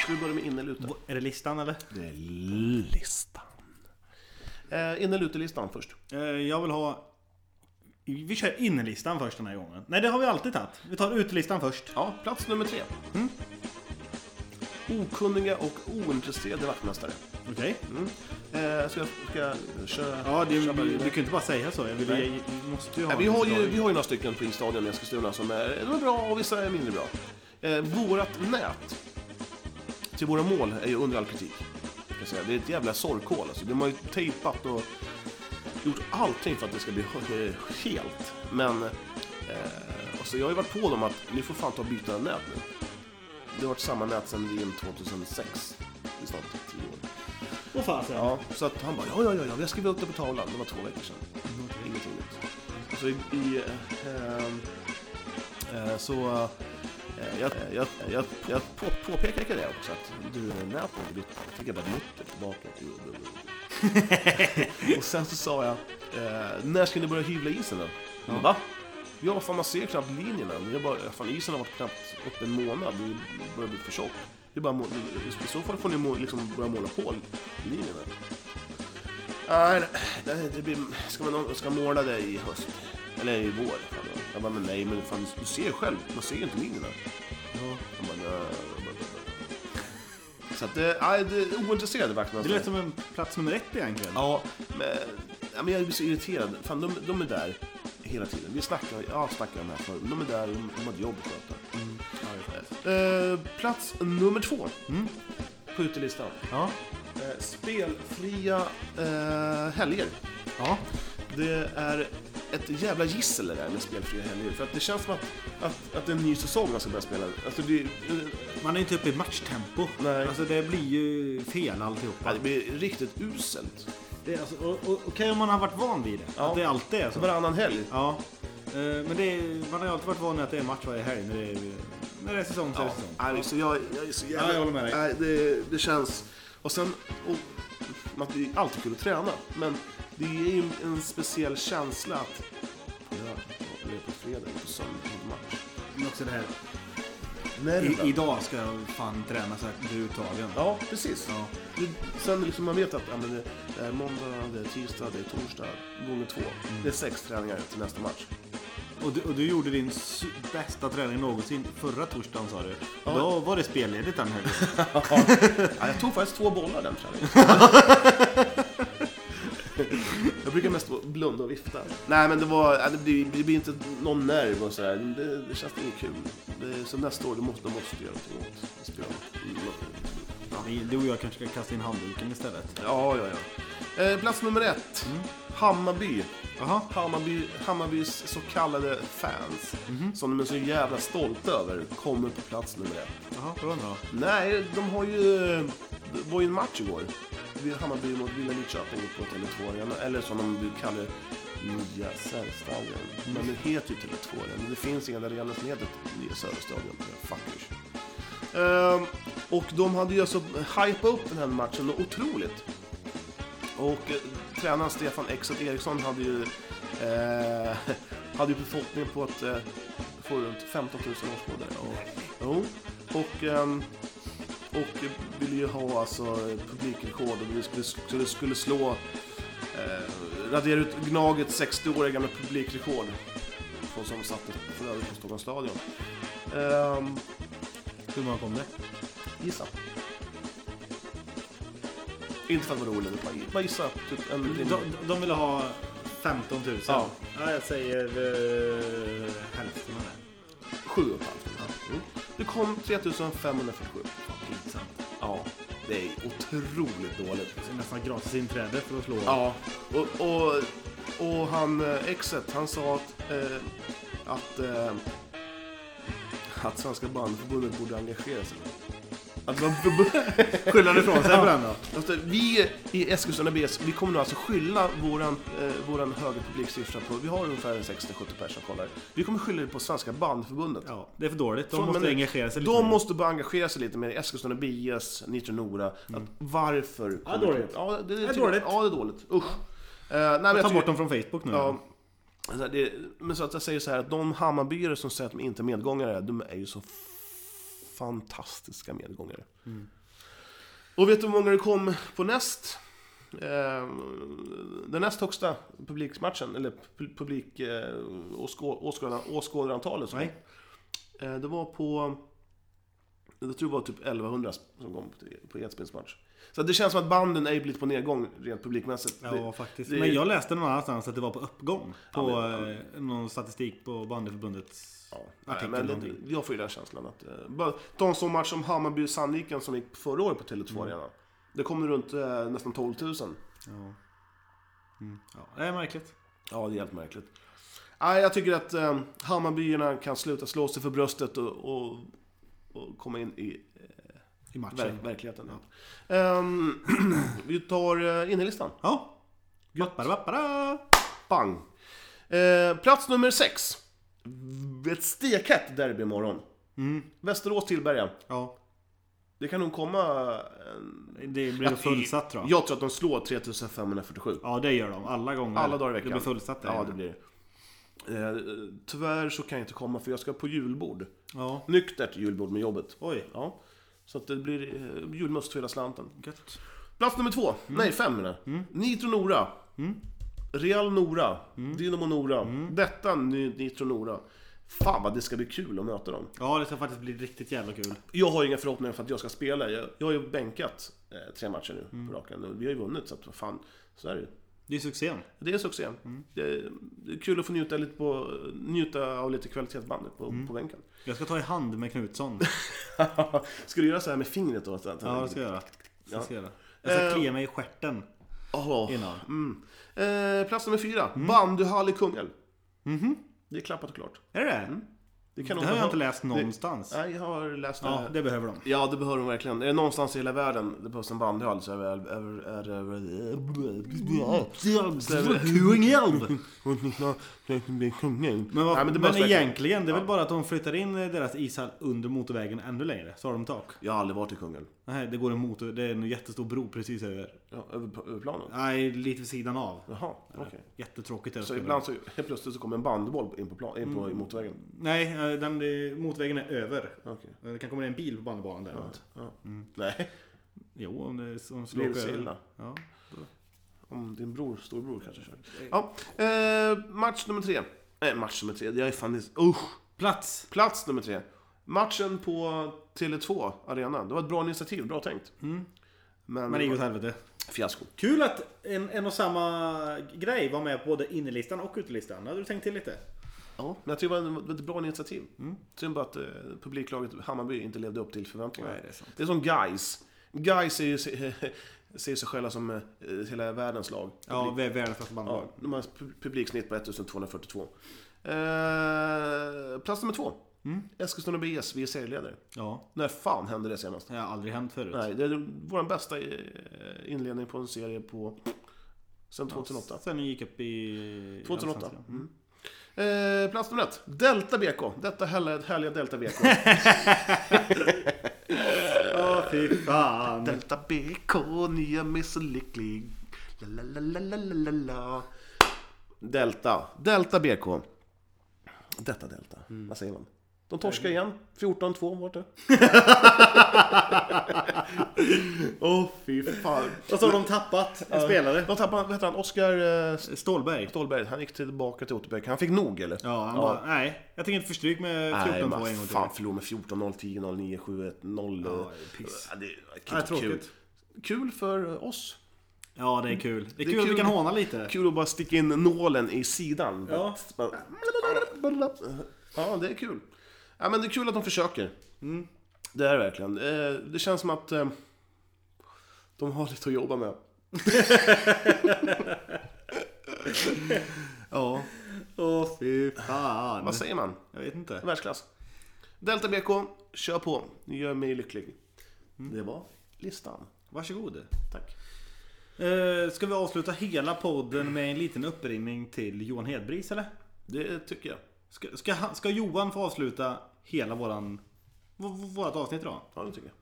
Speaker 1: Ska vi börja med inneluta?
Speaker 2: Är det listan eller?
Speaker 1: Det är listan. Eh, Innelutelistan först.
Speaker 2: Eh, Jag vill ha... Vi kör innerlistan först den här gången. Nej, det har vi alltid tagit. Vi tar utelistan först.
Speaker 1: Ja, plats nummer tre. Mm. Okunniga och ointresserade vaktmästare.
Speaker 2: Okej.
Speaker 1: Eh, ska jag, ska jag köra?
Speaker 2: Ja, det,
Speaker 1: köra
Speaker 2: du,
Speaker 1: vidare?
Speaker 2: du kan ju inte bara säga så. Jag vill, jag, jag måste ju ha
Speaker 1: Nej, vi,
Speaker 2: en
Speaker 1: har ju,
Speaker 2: förklaring.
Speaker 1: vi har ju några stycken på Instadion i Eskilstuna som är, de är bra och vissa är mindre bra. Eh, vårat nät till våra mål är ju under all kritik. kan jag säga. Det är ett jävla sorkhål. Alltså. De har ju tejpat och gjort allting för att det ska bli eh, helt. Men eh, alltså, jag har ju varit på dem att ni får fan ta och byta nät nu. Det har varit samma nät sedan VM 2006. Det är snart tio år.
Speaker 2: Åh fasen.
Speaker 1: Ja, så att han bara ja, ja, ja, ja, vi har skrivit upp det på tavlan. Det var två veckor sedan. Ingenting nytt. Mm, Så i... i ehm, eh, eh, så... eh, jag jag, jag, jag på, påpekade det också att du är med på det. Jag fick jag bara mutter tillbaka. Och sen så sa jag, eh, när ska ni börja hyvla isen då? Ja. Va? Ja, fan man ser knappt linjerna. Jag bara, fan isen har varit knappt upp en månad. Det börjar bli för tjockt. Det är bara, må- I så fall får ni må, liksom börja måla på linjerna. Nej, nej, det blir, ska man ska måla det i höst. Eller i vår. Fan, ja. Jag bara, men nej men fan du ser själv. Man ser ju inte linjerna. Jag bara, "Nö." Jag bara, "Nö." Så att det, nej, det är ointresserade alltså. vakterna.
Speaker 2: Det lät som en plats nummer ett egentligen.
Speaker 1: Ja, men, ja, men jag blir så irriterad. Fan, de, de är där hela tiden. Vi snackar, ja, snackar om det här förr. De är där, de, de har ett jobb att sköta. Mm. Eh, plats nummer två Mm. på utelistan.
Speaker 2: Ja.
Speaker 1: Eh, spelfria eh, helger.
Speaker 2: Ja.
Speaker 1: Det är ett jävla gissel det där med spelfria helger. För att det känns som att, att, att det är en ny säsong man ska börja spela. Alltså det, eh,
Speaker 2: Man är inte uppe i matchtempo.
Speaker 1: Nej.
Speaker 2: Alltså det blir ju fel
Speaker 1: ja,
Speaker 2: alltihopa.
Speaker 1: det blir riktigt uselt.
Speaker 2: Det är alltså, och, och, Okej om man har varit van vid det.
Speaker 1: Ja.
Speaker 2: Att det alltid är så.
Speaker 1: Varannan helg.
Speaker 2: Ja. Eh, Men det är, man har ju alltid varit van vid att det är match varje helg när det är, när det är säsong så är det säsong.
Speaker 1: Nej, så jag, jag är så jävla...
Speaker 2: Ja, jag håller med dig.
Speaker 1: Nej, det, det känns... Och sen... Och, att det är alltid kul att träna, men det är ju en speciell känsla att... Jag är på fredag, på söndag, på match.
Speaker 2: Men också det här.
Speaker 1: Nerven.
Speaker 2: I, idag ska jag fan träna så att bli uttagen.
Speaker 1: Ja, precis.
Speaker 2: Ja.
Speaker 1: Det, sen liksom man vet att ja, men det det är måndag, det är tisdag, det är torsdag, gånger två.
Speaker 2: Mm.
Speaker 1: Det är sex träningar till nästa match.
Speaker 2: Och, du, och du gjorde din su- bästa träning någonsin förra torsdagen sa du. Då var det spelledigt den helgen.
Speaker 1: Ja, jag tog faktiskt två bollar den träningen. jag brukar mest blunda och vifta. Nej, men det, var, ja, det, blir, det blir inte någon nerv och sådär. Det, det känns inte kul. Det, så nästa år, då måste, då måste jag göra någonting åt spelen.
Speaker 2: Vi- Du och jag kanske ska kasta in handduken istället.
Speaker 1: Ja, ja, ja. Eh, plats nummer ett. Hammarby.
Speaker 2: Jaha.
Speaker 1: Hammarby, Hammarbys så kallade fans, som de är så jävla stolta över, kommer på plats nummer ett.
Speaker 2: Jaha, bra då.
Speaker 1: Nej, de har ju... Det var ju en match igår. Vi- Hammarby mot Villa Lidköping på Tele2 Arena, eller som de nu kallar Nya Särstadion. Men det heter ju Tele2 Arena. Det finns ingen arena som heter Nya Söderstadion. Fuckers. Ehm, och de hade ju alltså hypat upp den här matchen otroligt. Och eh, tränaren Stefan Exet Eriksson hade ju, eh, hade ju förhoppningen på att eh, få runt 15 000 åskådare. Och, jo. och, ehm, och ville ju ha alltså publikrekord och vi skulle, skulle, skulle slå, eh, radera ut Gnaget 60-åriga gamla publikrekord. Som- Som sattes för övrigt på Stockholms stadion. Ehm,
Speaker 2: Hur många kom det?
Speaker 1: Gissa. Inte för att vara rolig, bara- bara gissa. Typ en
Speaker 2: De,
Speaker 1: rimlig-
Speaker 2: de- de ville ha 15 000.
Speaker 1: Ja.
Speaker 2: jag säger eh, hälften av det.
Speaker 1: Sju och ett halvt. Mm. Det kom 3547.
Speaker 2: Pinsamt.
Speaker 1: Ja, det är otroligt dåligt.
Speaker 2: Det är nästan gratis inträde för att slå.
Speaker 1: Ja, och, och, och han eh, exet, han sa att, eh, att, eh, att Svenska bandförbundet borde engagera sig. Att man
Speaker 2: Skylla det ifrån sig på den då.
Speaker 1: Alltså, vi i Eskilstuna BS, vi kommer nu alltså skylla våran, eh, våran höga publiksiffra på, vi har ungefär 60-70 personer som kollar. Vi kommer skylla det på Svenska bandförbundet.
Speaker 2: Ja, det är för dåligt. De
Speaker 1: Från-
Speaker 2: måste
Speaker 1: men-
Speaker 2: engagera sig lite.
Speaker 1: De
Speaker 2: mer.
Speaker 1: måste börja engagera sig lite mer. Eskilstuna BS, Nitro Nora.
Speaker 2: Mm.
Speaker 1: Att varför? kommer-
Speaker 2: dåligt.
Speaker 1: Ja, det, det,
Speaker 2: är dåligt.
Speaker 1: Ja, det är dåligt. Usch. Eh, nej, men jag
Speaker 2: Ta
Speaker 1: tycker-
Speaker 2: bort dem från Facebook nu.
Speaker 1: Ja. Alltså, det, men så att jag säger så här, att de Hammarbyare som säger att de inte är medgångare, de är ju så f- fantastiska medgångare.
Speaker 2: Mm.
Speaker 1: Och vet du hur många det kom på näst? Eh, den näst högsta publikmatchen, eller pu- publik eh, åskå- åskådar- åskådarantalet. som
Speaker 2: Nej.
Speaker 1: kom. Eh, det var på, jag tror det var typ 1100 som kom på- på Edsbyns match. Så att det känns som att banden är ju lite på nedgång rent publikmässigt.
Speaker 2: Ja,
Speaker 1: Det-
Speaker 2: faktiskt.
Speaker 1: det-
Speaker 2: Men jag läste någon annanstans att det var på uppgång. På
Speaker 1: men- ja,
Speaker 2: eh, någon statistik på bandyförbundets
Speaker 1: Nej,
Speaker 2: artikel.
Speaker 1: men
Speaker 2: någonting.
Speaker 1: det- jag får ju den känslan att... eh, Bara, ta en sån match som Hammarby-Sandviken som gick förra året på Tele2 Arena. Det kom runt eh, nästan 12 000.
Speaker 2: Ja. Mm. ja. Det är märkligt.
Speaker 1: Ja, det är helt märkligt. Nej, jag tycker att eh, Hammarbyerna kan sluta slå sig för bröstet och, och, och komma in i
Speaker 2: I matchen.
Speaker 1: ver- verkligheten. Ehm, vi tar eh, innerlistan.
Speaker 2: Ja. Bapparabappara.
Speaker 1: Bang! Eh, plats nummer 6. Ett stekhett derby imorgon. Mm. Västerås-Tillberga.
Speaker 2: Ja.
Speaker 1: Det kan nog komma eh, en
Speaker 2: Det blir fullsatt tror jag.
Speaker 1: Jag tror att de slår 3547.
Speaker 2: Ja, det gör de. Alla gånger.
Speaker 1: Alla dagar i veckan.
Speaker 2: Det blir fullsatt där
Speaker 1: Ja,
Speaker 2: inne.
Speaker 1: det blir det. Eh, Tyvärr så kan jag inte komma för jag ska på julbord.
Speaker 2: Ja.
Speaker 1: Nyktert julbord med jobbet.
Speaker 2: Oj.
Speaker 1: Ja. Så att det blir eh, julmust för hela slanten.
Speaker 2: Gött. Mm.
Speaker 1: Plats nummer två. Nej, fem menar jag. Nitro Nora. Real Nora,
Speaker 2: Mm.
Speaker 1: Dynamo Nora. Detta ny- Nitro Nora. Fan vad det ska bli kul att möta dem.
Speaker 2: Ja, det ska faktiskt bli riktigt jävla kul.
Speaker 1: Jag har inga förhoppningar för att jag ska spela. Jag, jag har ju bänkat eh, tre matcher nu
Speaker 2: Mm.
Speaker 1: på raken. Och Vi har ju vunnit, så att, vad fan, så är det ju.
Speaker 2: Det är succén.
Speaker 1: Det är succé.
Speaker 2: Mm.
Speaker 1: Det, är, det är kul att få njuta, lite på, njuta av lite kvalitetsband på,
Speaker 2: Mm.
Speaker 1: på bänken.
Speaker 2: Jag ska ta i hand med Knutsson.
Speaker 1: ska du göra så här med fingret då? Så att,
Speaker 2: Ja, det ska jag göra. Det ska jag, göra. jag ska
Speaker 1: Eh.
Speaker 2: klia mig i stjärten
Speaker 1: Åh.
Speaker 2: innan. Mm.
Speaker 1: Mm. Eh, plats nummer fyra. Bandyhall i Kungälv. Det är klappat och klart.
Speaker 2: Är det det?
Speaker 1: Mm. Det, kan
Speaker 2: Mhm. Det
Speaker 1: de
Speaker 2: har jag
Speaker 1: behö-
Speaker 2: inte läst någonstans.
Speaker 1: Nej, jag har läst det.
Speaker 2: Ja,
Speaker 1: här.
Speaker 2: det behöver de.
Speaker 1: Ja, det behöver de verkligen. Är det någonstans i hela världen det behövs en bandyhall så är det väl... Är, är, är,
Speaker 2: Kungälv!
Speaker 1: Men,
Speaker 2: Men, vad,
Speaker 1: Nej, men, det
Speaker 2: men
Speaker 1: behövs verkligen.
Speaker 2: egentligen, det är väl bara att de flyttar in deras ishall under motorvägen ännu längre. Så har de tak.
Speaker 1: Jag har aldrig varit i Kungälv.
Speaker 2: Nej, det går en motor, det är en jättestor bro precis över.
Speaker 1: Ja, över, över planen?
Speaker 2: Nej, lite vid sidan av.
Speaker 1: Jaha, okej.
Speaker 2: Jättetråkigt är det.
Speaker 1: Så ibland så helt plötsligt så kommer en bandyboll in på, plan, in på i motorvägen?
Speaker 2: Nej, eh, den, eh, motvägen är över.
Speaker 1: Okej.
Speaker 2: Eh, Det kan komma en bil på bandybanan där.
Speaker 1: Ja. Nej,
Speaker 2: Jo, om det om slår
Speaker 1: Lillsilla.
Speaker 2: Ja.
Speaker 1: Om din bror, storbror kanske kör. Ja, eh, match nummer tre. Nej, match nummer tre. Jag är fan i- Usch!
Speaker 2: Plats!
Speaker 1: Plats nummer tre. Matchen på Tele2 Arena. Det var ett bra initiativ, bra tänkt. Men,
Speaker 2: Mm. Men det gick åt helvete.
Speaker 1: fiasko.
Speaker 2: Kul att en, en och samma grej var med på både innerlistan och utelistan. Hade du tänkt till lite?
Speaker 1: Ja, men jag tycker det var en- det var ett bra initiativ.
Speaker 2: Mm.
Speaker 1: Synd bara att eh, publiklaget Hammarby inte levde upp till förväntningarna.
Speaker 2: Nej, det är sant.
Speaker 1: det är som Guys. Guys ser ju se- ser sig själva som eh, hela världens lag.
Speaker 2: Ja, vä- världens bästa bandylag.
Speaker 1: Ja, de har ett pu- publiksnitt på 1242. Eh, plats nummer två.
Speaker 2: Mm.
Speaker 1: Eskilstuna BS, vi är serieledare.
Speaker 2: Ja.
Speaker 1: När fan hände det senast?
Speaker 2: Det har aldrig hänt förut.
Speaker 1: Nej, det är vår bästa eh, inledning på en serie på... Sen 2008.
Speaker 2: Sen ni gick upp i...
Speaker 1: 2008.
Speaker 2: Allsvenskan.
Speaker 1: Mm. Eh, plats nummer ett. Delta BK. Detta härliga, härliga Delta BK.
Speaker 2: Ja, fy fan.
Speaker 1: Delta BK, nu gör mig så lycklig. La, la, la, la, la, la, la, la. Delta. Delta BK. Detta Delta.
Speaker 2: Mm.
Speaker 1: Vad säger man? De torskar igen. 14-2 vart det. Åh oh, fy fan.
Speaker 2: Och så har de tappat en spelare.
Speaker 1: De tappade, vad heter han, Oskar eh,
Speaker 2: Stålberg.
Speaker 1: Stålberg. Han gick tillbaka till Otterbäck. Han fick nog eller?
Speaker 2: Ja, han bara, nej. Jag tänker inte förstryk med 14-2
Speaker 1: Nej,
Speaker 2: en
Speaker 1: men
Speaker 2: gång till.
Speaker 1: fan förlora med 14-0, 10-0, 9-7, 1-0.
Speaker 2: Ja,
Speaker 1: eh, Ja,
Speaker 2: det är piss.
Speaker 1: det kan
Speaker 2: Nej,
Speaker 1: inte vara kul.
Speaker 2: tråkigt.
Speaker 1: Kul för oss.
Speaker 2: Ja, det är kul. Det är,
Speaker 1: är
Speaker 2: kul att vi
Speaker 1: kul.
Speaker 2: kan håna lite.
Speaker 1: Kul att bara sticka in nålen i sidan.
Speaker 2: Ja.
Speaker 1: ja, det är kul. Ja, men det är kul att de försöker.
Speaker 2: Mm.
Speaker 1: Det är det verkligen. Eh, Det känns som att eh, de har lite att jobba med.
Speaker 2: Ja. Åh, fy fan.
Speaker 1: Vad säger man?
Speaker 2: Jag vet inte.
Speaker 1: Världsklass. Delta BK, kör på. Ni gör mig lycklig. Det var listan.
Speaker 2: Varsågod.
Speaker 1: Tack.
Speaker 2: Eh, ska vi avsluta hela podden med en liten uppringning till Johan Hedbris eller?
Speaker 1: Det tycker jag.
Speaker 2: Ska, ska, han- ska Johan få avsluta hela våran... v- v- Vårat avsnitt idag?
Speaker 1: Ja, det tycker jag.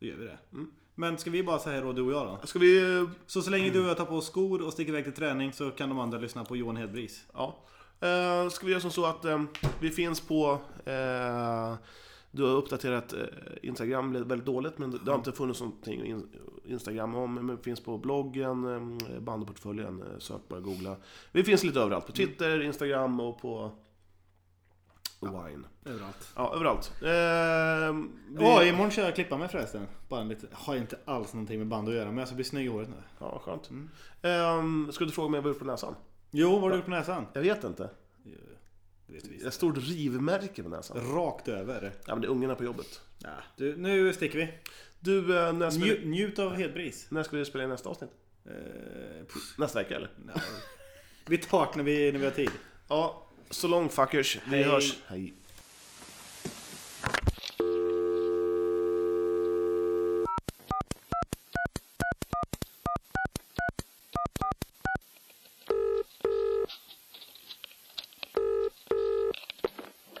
Speaker 2: Då gör vi det. Men ska vi bara säga hej då, du och jag då?
Speaker 1: Ska vi... eh,
Speaker 2: Så så länge du och jag tar på oss skor och sticker iväg till träning så kan de andra lyssna på Johan Hedbris.
Speaker 1: Ja. Eh, ska vi göra som så att eh, vi finns på... Eh, du har uppdaterat eh, Instagram blev väldigt dåligt, men det har inte funnits någonting att in, Instagram om. Men vi finns på bloggen, eh, bandportföljen, eh, sök bara googla. Vi finns lite överallt. På Twitter, Instagram och på... Wine.
Speaker 2: Överallt.
Speaker 1: Ja, överallt. Eh, vi,
Speaker 2: Ja, imorgon ska jag klippa mig förresten. Bara en liten, har inte alls någonting med band att göra men jag ska bli snygg i håret nu.
Speaker 1: Ja, skönt. Eh, ska du fråga mig vad jag har gjort på näsan?
Speaker 2: Jo, vad har du gjort på näsan?
Speaker 1: Jag vet inte.
Speaker 2: Det vet vi.
Speaker 1: Ett stort rivmärke på näsan.
Speaker 2: Rakt över.
Speaker 1: Ja, men det är ungarna på jobbet.
Speaker 2: Ja, du, nu sticker vi.
Speaker 1: Du, eh, när spelar...
Speaker 2: Nju, njut av Hedbris.
Speaker 1: När ska vi spela in nästa avsnitt?
Speaker 2: Eh, pff,
Speaker 1: Nästa vecka eller?
Speaker 2: nej. vi tar det när vi, när vi har tid.
Speaker 1: Ja, så long fuckers. Vi
Speaker 2: Hej.
Speaker 1: hörs. Hej.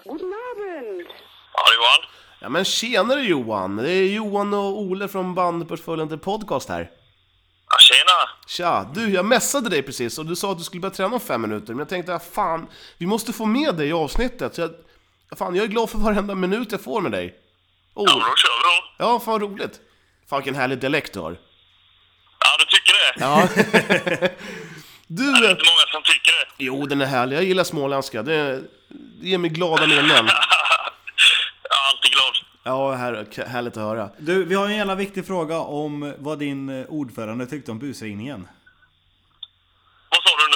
Speaker 5: Guten Abend.
Speaker 6: Ja, Johan.
Speaker 1: Ja men tjenare Johan! Det är Johan och Ole från bandportföljen till podcast här.
Speaker 6: Ja, tjena.
Speaker 1: Tja! Du, jag messade dig precis och du sa att du skulle börja träna om fem minuter, men jag tänkte att fan, vi måste få med dig i avsnittet. Så jag, fan, jag är glad för varenda minut jag får med dig. Oh,
Speaker 6: Ja, men då kör vi då.
Speaker 1: ja, fan roligt! Fan vilken härlig dialekt du har.
Speaker 6: Ja, du tycker det?
Speaker 1: Ja. Du!
Speaker 6: Det är
Speaker 1: eh,
Speaker 6: inte många som tycker det.
Speaker 1: Jo, den är härlig. Jag gillar småländska. Det, det ger mig glada minnen.
Speaker 6: Jag är alltid glad.
Speaker 1: Ja, här, härligt att höra.
Speaker 2: Du, vi har en jävla viktig fråga om vad din eh, ordförande tyckte om busringningen.
Speaker 6: Vad sa du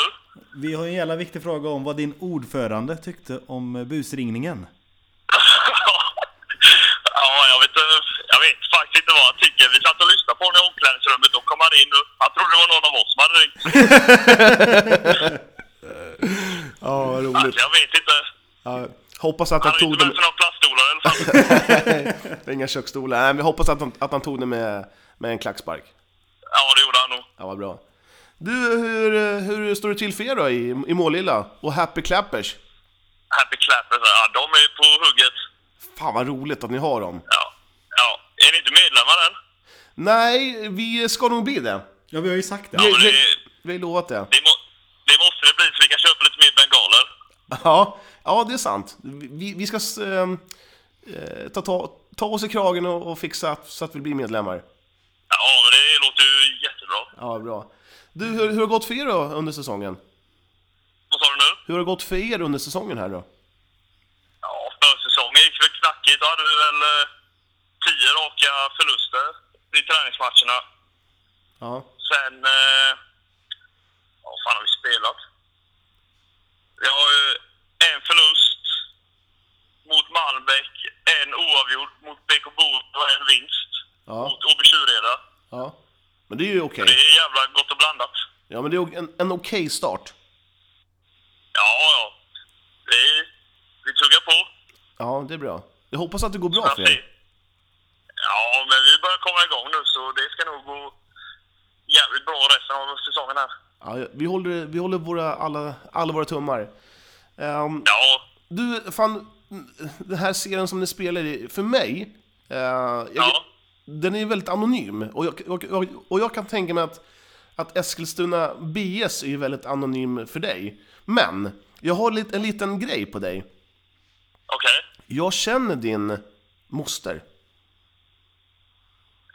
Speaker 6: nu?
Speaker 2: Vi har en jävla viktig fråga om vad din ordförande tyckte om eh, busringningen.
Speaker 6: ja, jag vet, eh, jag vet faktiskt inte vad han tycker. Vi satt och lyssnade på honom i omklädningsrummet. Då kom han in och han trodde det var någon av oss som hade ringt.
Speaker 1: Ja, vad roligt.
Speaker 6: Alltså, jag vet inte.
Speaker 1: Ja, hoppas att han
Speaker 6: Han har
Speaker 1: tog
Speaker 6: inte
Speaker 1: det
Speaker 6: med sig några plaststolar i alla fall.
Speaker 1: med... Inga köksstolar. Nej, vi hoppas att han, att han tog det med, med en klackspark.
Speaker 6: Ja, det gjorde han nog.
Speaker 1: Ja, vad bra. Du, hur, eh, hur står det till för er då i, i Målilla? Och Happy Clappers?
Speaker 6: Happy Clappers, ja de är på hugget.
Speaker 1: Fan vad roligt att ni har dem.
Speaker 6: Ja. ja. Är ni inte medlemmar än?
Speaker 1: Nej, vi ska nog bli det.
Speaker 2: Ja, vi har ju sagt det.
Speaker 1: Vi,
Speaker 6: men
Speaker 1: vi,
Speaker 6: det-
Speaker 1: vi har ju lovat det.
Speaker 6: Det, må, det måste det bli så vi kan köpa lite mer bengaler.
Speaker 1: Ja, ja det är sant. Vi, vi ska s- ehm, eh, ta, ta, ta oss i kragen och, och fixa så att vi blir medlemmar.
Speaker 6: Ja, men det låter ju jättebra.
Speaker 1: Ja, bra. Du, hur, hur har det gått för er då under säsongen?
Speaker 6: Vad sa du nu?
Speaker 1: Hur har det gått för er under säsongen här då?
Speaker 6: Ja, försäsongen gick väl knackigt. Då hade vi väl eh, tio raka förluster i träningsmatcherna.
Speaker 1: Ja,
Speaker 6: Sen... Eh, ja, vad fan har vi spelat? Vi har ju en förlust mot Malmbäck, en oavgjord mot BK Borås och en vinst
Speaker 1: ja,
Speaker 6: mot OB Tjureda.
Speaker 1: ja. Men det är ju okej.
Speaker 6: Det är jävla gott och blandat.
Speaker 1: Ja, men det är en, en okej start.
Speaker 6: Ja, ja. Det är, vi tuggar på.
Speaker 1: Ja, det är bra. Jag hoppas att det går bra
Speaker 6: Att
Speaker 1: för
Speaker 6: det-
Speaker 1: er.
Speaker 6: Ja, men vi börjar komma igång nu så det ska nog gå jävligt bra resten av säsongen här.
Speaker 1: Ja, vi håller, vi håller våra, alla, alla våra tummar. Ehm,
Speaker 6: Ja,
Speaker 1: Du, fan, den här serien som ni spelar i, för mig, eh, jag,
Speaker 6: Ja.
Speaker 1: den är väldigt anonym. Och jag, och, och, och jag kan tänka mig att, att Eskilstuna BS är ju väldigt anonym för dig. Men, jag har lit- en liten grej på dig.
Speaker 6: okej.
Speaker 1: Jag känner din moster.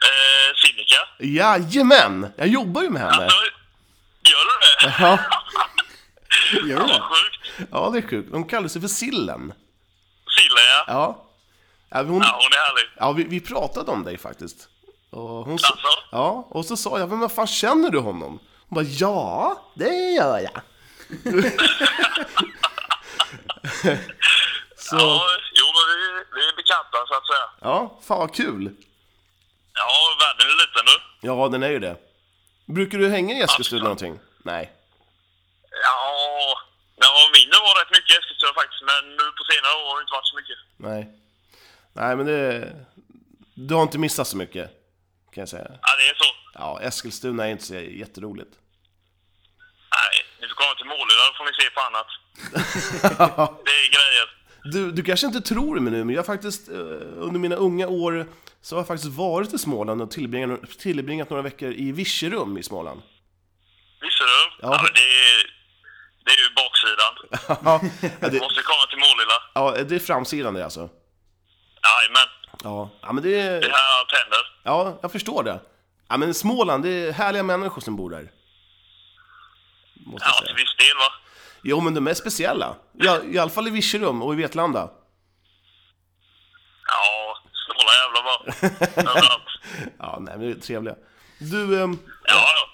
Speaker 6: Eh, Sinikka?
Speaker 1: Jajamän! Jag jobbar ju med henne!
Speaker 6: Alltså, gör du det?
Speaker 1: Ja,
Speaker 2: Gör du det?
Speaker 6: Vad sjukt.
Speaker 1: ja det är sjukt. Hon kallar sig för Sillen.
Speaker 6: Sillen ja.
Speaker 1: Ja. Ja, hon,
Speaker 6: Ja, hon är härlig.
Speaker 1: ja vi, vi pratade om dig faktiskt. Och hon, sa-
Speaker 6: Alltså?
Speaker 1: Ja, och så sa jag, men vad fan känner du honom? Hon bara, ja, det gör jag. så,
Speaker 6: Ja, jo men vi, vi är bekanta så att säga.
Speaker 1: ja, fan vad kul.
Speaker 6: Ja, världen är liten nu.
Speaker 1: Ja, den är ju det. Brukar du hänga i Eskilstuna någonting? Nej.
Speaker 6: Ja, när jag var mindre var det rätt mycket i Eskilstuna faktiskt men nu på senare år har det inte varit så mycket.
Speaker 1: Nej. Nej, men det... Du har inte missat så mycket, kan jag säga.
Speaker 6: Ja, det är så.
Speaker 1: Ja, Eskilstuna är inte så jätteroligt.
Speaker 6: Nej, ni får komma till Målilla då får ni se på annat. det är grejer.
Speaker 1: Du, du kanske inte tror det nu, men jag har faktiskt eh, under mina unga år så har jag faktiskt varit i Småland och tillbringat, tillbringat några veckor i Virserum i Småland.
Speaker 6: Visste du? Ja.
Speaker 1: Ja.
Speaker 6: men det, är, det är ju baksidan.
Speaker 1: Ja, det,
Speaker 6: Du måste komma till Målilla.
Speaker 1: ja, det är framsidan det alltså.
Speaker 6: Jajamän,
Speaker 1: Ja, ja men det
Speaker 6: det är
Speaker 1: är...
Speaker 6: här allt händer.
Speaker 1: Ja, jag förstår det. Ja, men Småland, det är härliga människor som bor där. Måste
Speaker 6: Ja,
Speaker 1: jag
Speaker 6: till
Speaker 1: säga.
Speaker 6: viss del va.
Speaker 1: Jo, men de är speciella. Ja, I alla fall i Virserum och i Vetlanda.
Speaker 6: Ja, snåla jävlar bara. Överallt.
Speaker 1: Ja, nej, men det är trevliga. Du, ehm,
Speaker 6: Ja, ja.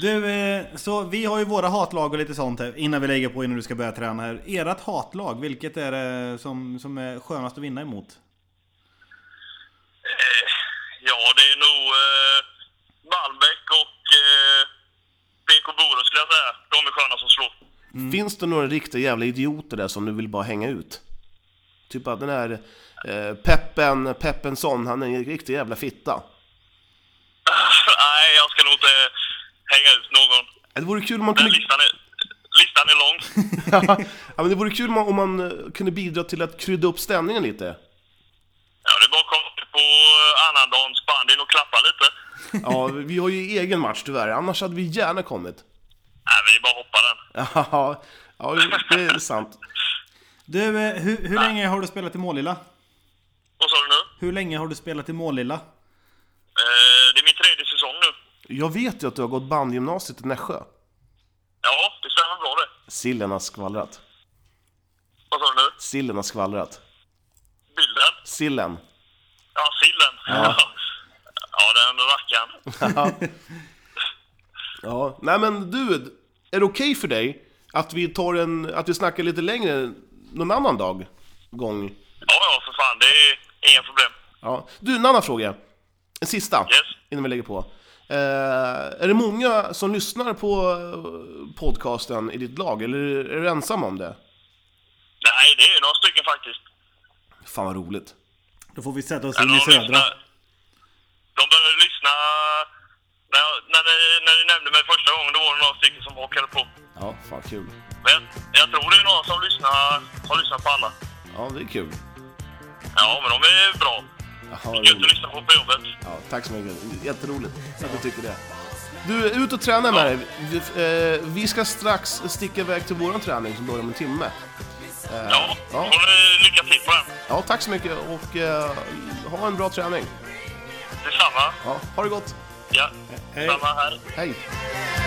Speaker 2: Du, eh, så vi har ju våra hatlag och lite sånt här innan vi lägger på innan du ska börja träna här. Ert hatlag, vilket är det som, som är skönast att vinna emot?
Speaker 6: Eh, ja, det är nog eh, Malmbäck och eh, BK Borås skulle jag säga. De är sköna som slår.
Speaker 1: finns det några riktiga jävla idioter där som du vill bara hänga ut? Typ att den här eh, Peppen, Peppensson, han är en riktig jävla fitta.
Speaker 6: Nej, jag ska nog inte hänga ut någon.
Speaker 1: Det vore kul om man
Speaker 6: Den
Speaker 1: kunde...
Speaker 6: listan är, listan är lång.
Speaker 1: ja, men det vore kul om man, om man eh, kunde bidra till att krydda upp stämningen lite.
Speaker 6: Ja, det är bara att komma på annandagens bandyn och klappa lite.
Speaker 1: Ja, vi har ju egen match tyvärr, annars hade vi gärna kommit.
Speaker 6: Nej, men det är bara att hoppa den.
Speaker 1: Ja, ja det är sant.
Speaker 2: Du, eh, hur, hur länge har du spelat i Målilla?
Speaker 6: Vad sa du nu?
Speaker 2: Hur länge har du spelat i Målilla?
Speaker 6: Eh, det är min tredje säsong nu.
Speaker 1: Jag vet ju att du har gått bandgymnasiet i Nässjö.
Speaker 6: Ja, det stämmer bra det.
Speaker 1: Sillen har skvallrat.
Speaker 6: Vad sa du nu?
Speaker 1: Sillen har skvallrat.
Speaker 6: Bilden?
Speaker 1: Sillen.
Speaker 6: Ja, sillen. Ja, den rackaren.
Speaker 1: Ja. Nej men du, är det okej för dig att vi tar en, att vi snackar lite längre någon annan dag? Gång.
Speaker 6: Ja, ja, för fan. Det är inga problem.
Speaker 1: Ja. Du, en annan fråga. En sista,
Speaker 6: Yes.
Speaker 1: innan vi lägger på. Eh, är det många som lyssnar på eh, podcasten i ditt lag, eller är du ensam om det?
Speaker 6: Nej, det är ju några stycken faktiskt.
Speaker 1: Fan vad roligt.
Speaker 2: Då får vi sätta oss
Speaker 6: Ja,
Speaker 2: in i
Speaker 6: de
Speaker 2: Södra.
Speaker 6: lyssnar- De började lyssna... När, jag- när, ni, när ni nämnde mig första gången, då var det några stycken som hakade på.
Speaker 1: Ja, fan kul.
Speaker 6: Men jag, jag tror det är några som lyssnar, har lyssnat på alla.
Speaker 1: Ja, det är kul.
Speaker 6: Ja, men de är bra.
Speaker 1: Jaha,
Speaker 6: Gött att
Speaker 1: roligt.
Speaker 6: lyssna på på jobbet.
Speaker 1: Ja, tack så mycket. Jätteroligt att du tycker det. Du, ut och träna med dig. Vi, eh, vi ska strax sticka iväg till våran träning som börjar om en timme.
Speaker 6: Ja,
Speaker 1: ja.
Speaker 6: ja. Får ni lycka till på den.
Speaker 1: Ja, tack så mycket och eh, ha en bra träning.
Speaker 6: Detsamma.
Speaker 1: Ja, ha det gott.
Speaker 6: Ja, detsamma här.
Speaker 1: Hej!
Speaker 5: Hej!